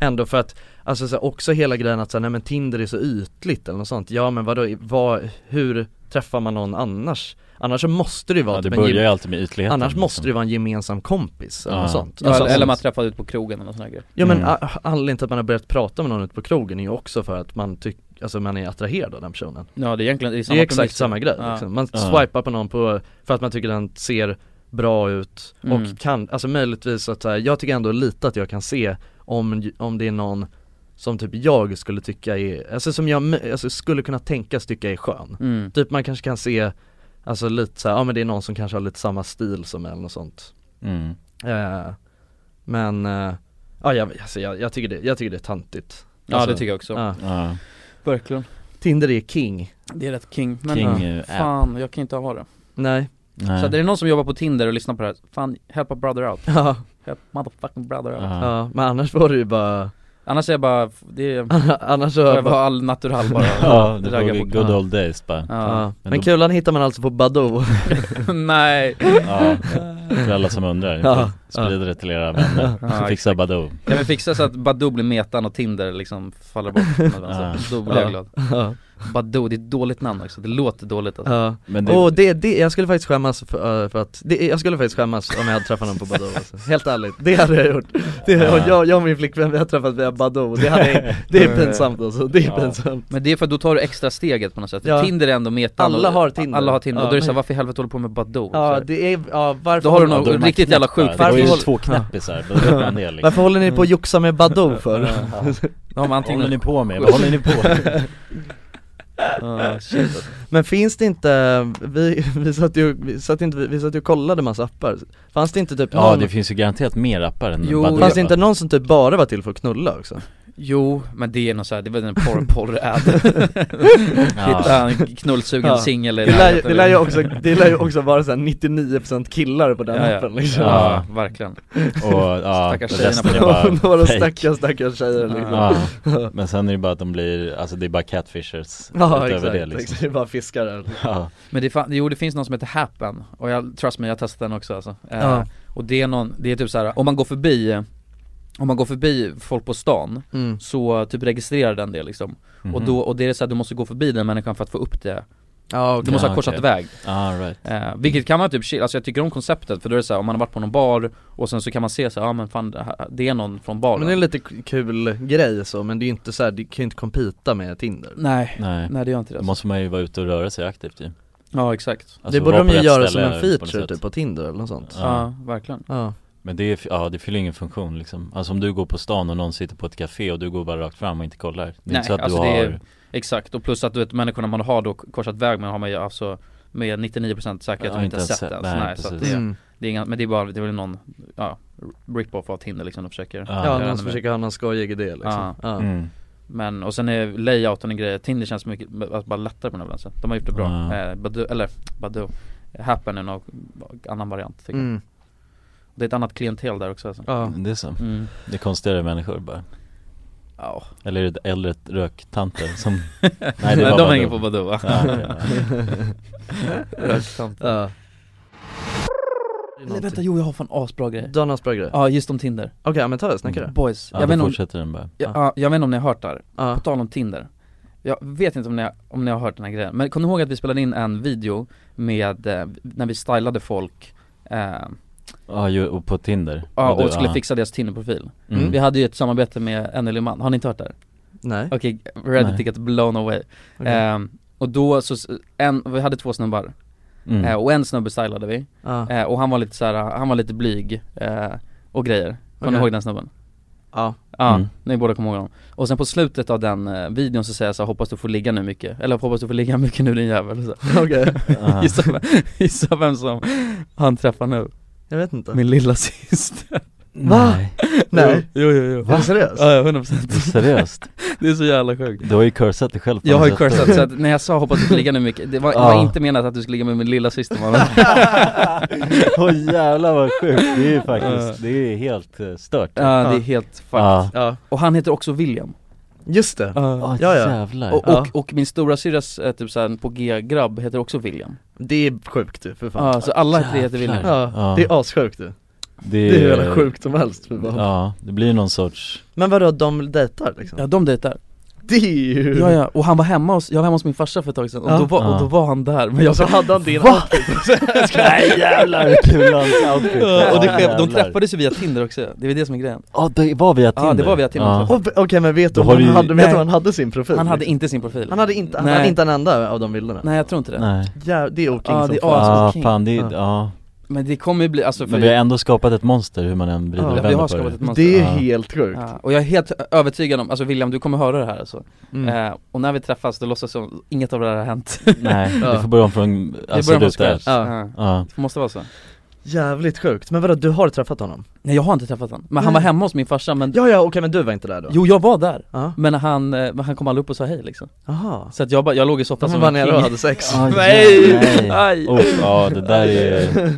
S3: Ändå för att, alltså så här, också hela grejen att säga nej men Tinder är så ytligt eller något sånt Ja men vadå, i- vad, hur träffar man någon annars? Annars så måste det ju vara
S6: Ja, det
S3: typ en
S6: börjar
S3: gem-
S6: ju alltid med ytligheten,
S3: Annars måste
S6: liksom.
S3: det ju vara en gemensam kompis eller
S6: Ja.
S3: något sånt
S4: Ja,
S3: Alltså,
S4: eller man
S3: alltså-
S4: träffar ut på krogen eller någon sån här grej
S3: Ja men
S4: Mm.
S3: a- anledningen till att man har börjat prata med någon ute på krogen är ju också för att man tycker, alltså man är attraherad av den personen
S4: Ja, det är egentligen- det är
S3: det är
S4: samma
S3: exakt
S4: premisser.
S3: samma grej
S4: Ja.
S3: liksom. Man
S4: Ja.
S3: swipar på någon på, för att man tycker den ser bra ut och
S4: Mm.
S3: kan, alltså möjligtvis att så här, jag tycker ändå lite att jag kan se om, om det är någon som typ jag skulle tycka är, alltså som jag mö- alltså skulle kunna tänkas tycka är skön
S4: Mm.
S3: Typ man kanske kan se, alltså lite så här, ja men det är någon som kanske har lite samma stil som en och sånt
S6: Mm.
S3: Eh, men, eh, ja jag, alltså, jag, jag, tycker det, jag tycker det är tantigt
S4: Ja,
S3: alltså,
S4: det tycker jag också.
S3: ja.
S6: Ja.
S4: Verkligen
S3: Tinder är king
S4: Det är rätt king, men
S3: King,
S4: ja,
S3: eh,
S4: fan jag kan inte ha det
S3: Nej.
S6: Nej.
S4: Så att är det någon som jobbar på Tinder och lyssnar på det här, fan help a brother out
S3: Ja
S4: Help motherfucking brother out
S3: Ja. men annars var det ju bara
S4: Annars är jag bara, det är,
S3: Annars så
S4: jag är bara all natural bara
S6: Ja, det
S4: raggar
S6: var
S4: bort.
S6: good
S4: Ja.
S6: old days bara
S3: Ja. Men,
S6: då-
S3: kulan hittar man alltså på Badoo
S4: Nej
S6: Ja, för alla som undrar,
S4: Ja,
S6: sprida det till era vänner,
S4: Ja,
S6: fixa
S4: exakt.
S6: Badoo
S4: Ja men fixa så att Badoo blir metan och Tinder liksom faller bort på något vänster. Då blir jag
S3: Ja.
S4: glad
S3: Ja.
S4: Badoo, det är ett dåligt namn också, det låter dåligt alltså.
S3: Ja, och det, det, jag skulle faktiskt skämmas för, eh, för att, det, jag skulle faktiskt skämmas om jag hade träffat någon på Badoo alltså. Helt ärligt, det hade jag gjort det,
S4: Ja.
S3: jag, jag och min flickvän vi har träffat via Badoo, det, hade, jag- det är pinsamt alltså, det är
S4: Ja.
S3: pinsamt
S4: Men det är för att då tar du extra steget på något sätt,
S3: Ja.
S4: Tinder är ändå metan
S3: Alla
S4: och-
S3: har Tinder.
S4: Alla har Tinder, och då är det
S3: Ja.
S4: såhär varför i helvete håller du på med Badoo? Så
S3: Ja
S4: här.
S3: det är, ja varför
S4: Då har du nog Ja, då är man riktigt knäpp jävla där. sjuk-
S3: varför
S4: Det var ju
S3: håller-
S4: två knäppisar, men det var en del, liksom.
S3: Varför håller ni på att joxa med Badoo för?
S4: Då har man antingen-
S6: Vad håller ni på med? Vad håller ni på med?
S4: Ja, shit, alltså.
S3: Men finns det inte, vi, vi satt ju, vi satt inte, vi satt ju och kollade massa appar Fanns det inte typ
S6: Ja
S3: någon,
S6: det finns ju garanterat mer appar än
S3: Jo,
S6: Badoo
S3: fanns det inte någon som typ bara var till för att knulla också?
S4: Jo, men det är nog såhär, det var en porr porr-ad Hitta en knullsugen singel i
S3: det lär, ju-
S4: lägenheten.
S3: det, lär ju också, det lär ju också vara såhär 99% killar på den
S4: Ja, ja.
S3: appen liksom
S4: Ja, verkligen. Och, ja,
S3: Stackars
S4: resten
S3: tjejerna
S4: är bara
S3: på Några
S4: fake.
S3: stackars stackars tjejer liksom
S6: Ja. Men sen är det bara att de blir, alltså det är bara catfishers
S3: Ja,
S6: utöver
S3: exakt,
S6: det liksom.
S3: exakt. det är bara liksom. fiskar där.
S6: Ja.
S4: Men det, fan, jo, det finns någon som heter Happen och jag, trust me, jag har testat den också alltså. eh,
S3: Ja.
S4: Och det är någon, det är typ så här, om man går förbi om man går förbi folk på stan,
S3: Mm.
S4: så typ registrerar den det liksom Och
S3: Mhm.
S4: då, och det är så här, du måste gå förbi den människan för att få upp det Du
S3: okej.
S4: måste ha
S3: Ah,
S4: korsat
S3: okej.
S4: väg
S6: Ah, right.
S4: eh, Vilket kan man typ, chill- alltså jag tycker om konceptet för då är det så här, om man har varit på någon bar och sen så kan man se så här, ja men fan det här- det är någon från baren
S3: Men det är en lite k- kul grej så, men det är ju inte såhär, det kan ju inte kompita med Tinder
S4: Nej,
S6: Nej.
S4: nej det gör inte det
S6: Då måste man ju vara ute och röra sig aktivt ju
S4: Ja exakt
S6: Alltså,
S3: Det borde
S6: vara
S3: de
S6: på
S3: ju
S6: rätt
S3: göra som
S6: ställe
S3: en
S6: på något
S3: feature
S6: sätt.
S3: typ på Tinder eller något sånt
S4: Ja, verkligen.
S3: Ja.
S6: Men det, är, ja, det fyller ingen funktion liksom Alltså om du går på stan och någon sitter på ett café och du går bara rakt fram och inte kollar Det är
S4: Nej,
S6: inte så att
S4: alltså
S6: du
S4: det
S6: har
S4: är, exakt, och plus att du vet människorna man har då korsat väg med har man ju alltså med 99% säkerhet
S6: Ja,
S4: har inte ens sett ens, nej, så att
S6: precis.
S4: det,
S3: Mm.
S4: det är inga, men det är bara, det är väl någon, ja, rip-off av Tinder liksom de försöker
S3: Ja,
S4: göra
S3: någon
S4: ännu
S3: som
S4: mer.
S3: försöker ha någon skojig idé liksom
S4: Ja.
S3: Ja.
S6: Mm.
S4: Men, och sen är layouten och grejer, Tinder känns mycket, alltså, bara lättare på den här balansen. De har gjort det bra,
S6: Ja.
S4: eh, Badoo, eller Badoo, Happen är någon annan variant tycker
S3: Mm.
S4: jag Och Det är ett annat klientel där också alltså.
S6: Det är så,
S4: Mm.
S6: det är konstigare människor bara
S4: Ja.
S6: Eller är det äldre röktanter som
S4: Nej,
S6: var
S4: de hänger på
S6: Badoo.
S4: Badoo va?
S6: Ja, ja, ja.
S3: Ja.
S4: Eller vänta, jo jag har fan asbra grejer
S3: Du har en asbra grej?
S4: Ja, Mm. just om Tinder
S3: Okej, men ta det, snacka det
S4: Boys,
S6: Ja,
S4: jag,
S6: då
S4: vet inte
S6: fortsätter den bara.
S4: Ja, ja, jag vet inte om ni har hört det här, på tal om Tinder Jag vet inte om ni, har- om ni har hört den här grejen, men kom ihåg att vi spelade in en video med, eh, när vi stylade folk eh,
S6: Ja, ju- och på Tinder
S4: Ja,
S6: du,
S4: och skulle
S6: ja.
S4: fixa deras Tinder-profil.
S6: Mm.
S4: Vi hade ju ett samarbete med en Liman, har ni inte hört det här?
S3: Nej
S4: Okej, ready
S3: Nej.
S4: to get blown away
S3: Okej.
S4: Ehm, Och då så, s- en, vi hade två snubbar
S3: Mm.
S4: Eh, Och en snubbe stylade vi,
S3: Ja.
S4: Eh, och han var lite så här, han var lite blyg eh, och grejer Kommer ni
S3: Okej.
S4: ihåg den snubben?
S3: Ja
S4: Ja,
S3: Mm.
S4: ni båda kommer ihåg honom. Och sen på slutet av den eh, videon så säger jag så här, hoppas du får ligga nu mycket, eller hoppas du får ligga mycket nu din jävel så.
S3: Okej.
S6: Ah.
S4: gissa, vem, gissa vem som han träffar nu?
S3: Jag vet inte.
S4: Min lilla syster
S3: Va? Nej.
S4: Jo, jo, jo, jo.
S3: Va? Är du seriös?
S4: Ja, ja, 100%
S6: Seriöst?
S4: Det är så jävla sjukt
S6: Du har ju cursat dig själv på
S4: Jag har ju
S6: något sätt.
S4: cursat så att när jag sa hoppas du får ligga nu mycket, det var, det
S3: Ah.
S6: Ja.
S4: var inte menat att du skulle ligga med min lilla syster mannen
S6: Åh jävlar vad sjukt, det är ju faktiskt, det är ju helt eh, stört
S4: Ja
S3: Ah.
S4: det är helt fucked Och han heter också William
S3: Just det,
S6: Ja, jävlar.
S4: Och,
S6: Ja.
S4: och, och min stora syrras eh, typ såhär på G-grabb heter också William
S3: Det är sjukt ju, för fan
S4: Ja, så alla tre heter William
S3: Ja,
S6: Ja.
S3: det är assjukt ju
S6: Det
S3: Det är hur jävla sjukt som helst för
S4: Mm.
S3: fan.
S6: Ja, det blir någon sorts
S3: Men vadå, de dejtar liksom?
S4: Ja de dejtar
S3: Det är ju
S4: Ja ja, och han var hemma hos, jag var hemma hos min farsa för ett tag sedan och,
S3: Ja.
S4: då, var,
S3: Ja.
S4: och då var han där men jag
S3: Så hade han din
S4: Va?
S3: outfit.
S6: Nej, jävlar, vad kul hans outfit var.
S4: Ja, och det,
S6: Ja,
S4: sker- de
S6: jävlar.
S4: träffades ju via Tinder också, det är väl det som är grejen
S6: Ja, det var via Tinder
S4: Ja det var via Tinder
S6: Ja.
S4: de träffades.
S3: Och- Okej men vet du
S6: Då
S3: om
S6: har
S3: han
S6: du ju-
S3: hade, vet du
S4: Nej.
S3: om han hade sin profil?
S4: Han hade inte sin profil
S3: Han hade inte, han
S4: Nej.
S3: hade inte en enda av de bilderna?
S4: Nej jag tror inte det
S6: Nej.
S3: Ja, det är oking
S4: Ja,
S3: som
S4: det är
S3: fan.
S6: Ja,
S4: King.
S6: fan det är, ja
S4: Men det kommer ju bli, alltså för
S6: Men vi har ändå skapat ett monster hur man än vrider
S4: Ja,
S6: och
S4: vi
S6: vänder
S4: har
S6: på
S4: skapat ett
S6: det
S4: monster. Det är
S3: helt sjukt
S4: Ja, och jag är helt övertygad om, alltså William du kommer höra det här alltså
S6: Mm.
S4: eh, Och när vi träffas, då låtsas som inget av det här har hänt
S6: Nej, vi får börja om från,
S4: Vi
S6: alltså
S4: börjar från
S6: ruta
S4: scratch.
S6: ett.
S4: Ja.
S6: Ja.
S4: Det måste vara så
S3: Jävligt sjukt, men vadå du har träffat honom?
S4: Nej jag har inte träffat honom, men han var
S3: Nej.
S4: hemma hos min farsa men
S3: Ja ja, okej men du var inte där då?
S4: Jo jag var där, men han, eh, men han kom aldrig upp och sa hej liksom
S3: Aha.
S4: Så att jag, bara, jag låg i soffan
S3: De
S4: som
S3: var
S4: en
S3: nere
S4: king.
S3: och hade sex.
S4: Ah,
S3: Nej!
S4: nej.
S3: Aj.
S6: Uff, ja det där är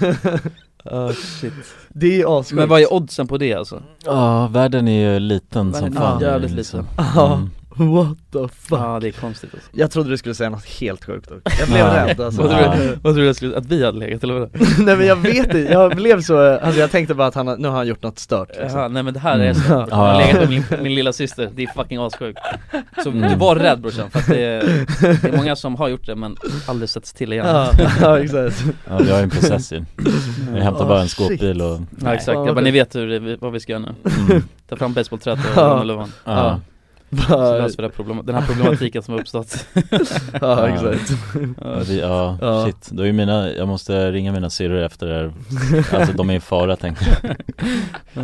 S4: Ah, shit
S3: Det är ju assjukt
S4: Men vad är oddsen på det alltså?
S6: Ja, världen är ju liten som
S4: Världen är
S6: fan
S4: jävligt
S6: liksom.
S4: liten.
S3: Ja,
S4: Mm.
S3: what the fuck
S4: Ja det är konstigt alltså
S3: Jag trodde du skulle säga något helt sjukt dock. Jag blev
S4: Ja.
S3: rädd alltså
S4: Vad tror du, vad tror du jag skulle, att vi hade legat eller vadå?
S3: Nej men jag vet inte, jag blev så, eh, alltså jag tänkte bara att han, har- nu har han gjort något stört liksom.
S4: Jaha, nej men det här är så,
S3: Mm.
S4: jag har
S3: Ja.
S4: legat med min, min lilla syster, det är fucking assjukt Så
S3: Mm.
S4: du var rädd brorsan, för att det, är- det är många som har gjort det men aldrig setts till igen
S3: Ja, ja, exakt.
S6: Ja, vi har ju en process ju. Vi hämtar bara en
S4: Oh,
S6: skåpbil och
S4: Ja exakt, jag bara, ni vet hur, det- vad vi ska göra nu Ta fram basebollträt och
S3: Ja.
S4: Lommelövan
S6: Ja.
S4: Så löser vi det här problem, den här problematiken som har uppstått
S3: Ja, exakt.
S6: Ja, vi, ja, shit, då är ju mina, jag måste ringa mina syrror efter det här Alltså de är i fara tänker jag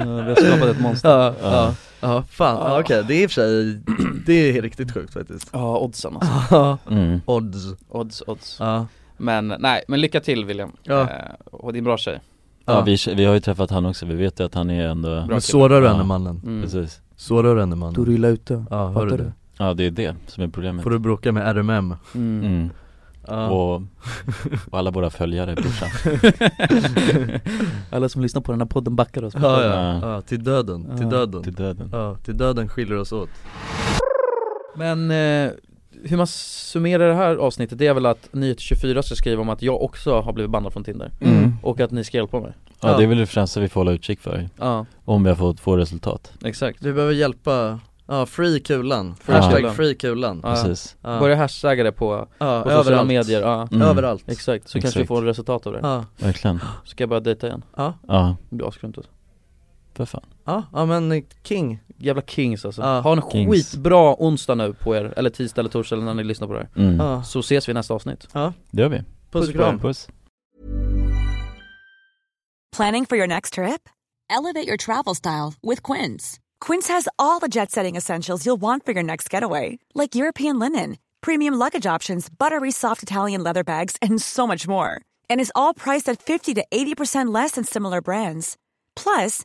S4: Eh, vi har skapat ett monster
S3: Ja, ja, ja fan, ja, okej det är i och för sig, det är riktigt sjukt faktiskt
S4: Ja, oddsen alltså
S3: Ja.
S6: Mm.
S3: Odds
S4: Odds, odds
S3: Ja.
S4: Men nej, men lycka till William
S3: Ja.
S4: eh, Och din bra tjej
S6: Ja, vi, vi har ju träffat han också, vi vet ju att han är ändå
S4: Mm.
S3: Men sårar du henne, mannen?
S6: Precis
S3: Så rör henne mannen.
S4: Då rullar ut det.
S3: Ja, hör du
S4: Fattar
S3: det?
S6: Ja det är det som är problemet
S3: Får du bråka med RMM?
S4: Mm.
S6: Mm.
S3: Ja.
S6: Och, och alla våra följare brorsan
S4: Mm. Alla som lyssnar på den här podden backar oss
S3: Ja, ja, ja, till döden, till
S4: Ja.
S3: döden
S6: Till döden.
S3: Ja, till döden skiljer oss åt
S4: Men eh, hur man summerar det här avsnittet det är väl att Nyheter24 ska skriva om att jag också har blivit bannad från Tinder
S6: Mm.
S4: Och att ni ska hjälpa mig
S6: Ja det är väl det främsta vi får hålla utkik för
S4: Ja.
S6: Om vi har fått få resultat
S4: Exakt
S3: Vi behöver hjälpa, ja, free kulan,
S4: Free
S3: hashtag
S4: kulan.
S3: free kulan
S4: Ja.
S6: Precis.
S3: Ja.
S4: Börja hashtagga det på,
S3: Ja,
S4: på sociala
S3: överallt.
S4: medier ja.
S3: Mm. Överallt.
S4: Exakt, så kanske
S6: Exakt.
S4: vi får resultat av det
S3: Ja.
S6: Mm. Verkligen
S4: Så ska jag börja dejta igen
S3: Ja.
S6: Ja,
S4: Det blir asgrymt alltså.
S6: för fan
S3: Ja, ja men eh, king
S4: Jävla kings alltså,
S3: Ja.
S4: ha en
S6: Kings.
S4: skitbra onsdag nu på er, eller tisdag eller torsdag eller när ni lyssnar på det här
S6: Mm.
S3: Ja.
S4: Så ses vi i nästa avsnitt
S3: Ja,
S6: Det gör vi
S3: puss och kram
S6: Puss
S13: Planning for your next trip?
S14: Elevate your travel style with Quince.
S13: Quince has all the jet setting essentials you'll want for your next getaway, like European linen, premium luggage options, buttery soft Italian leather bags, and so much more. And is all priced at 50 to 80% less than similar brands. Plus,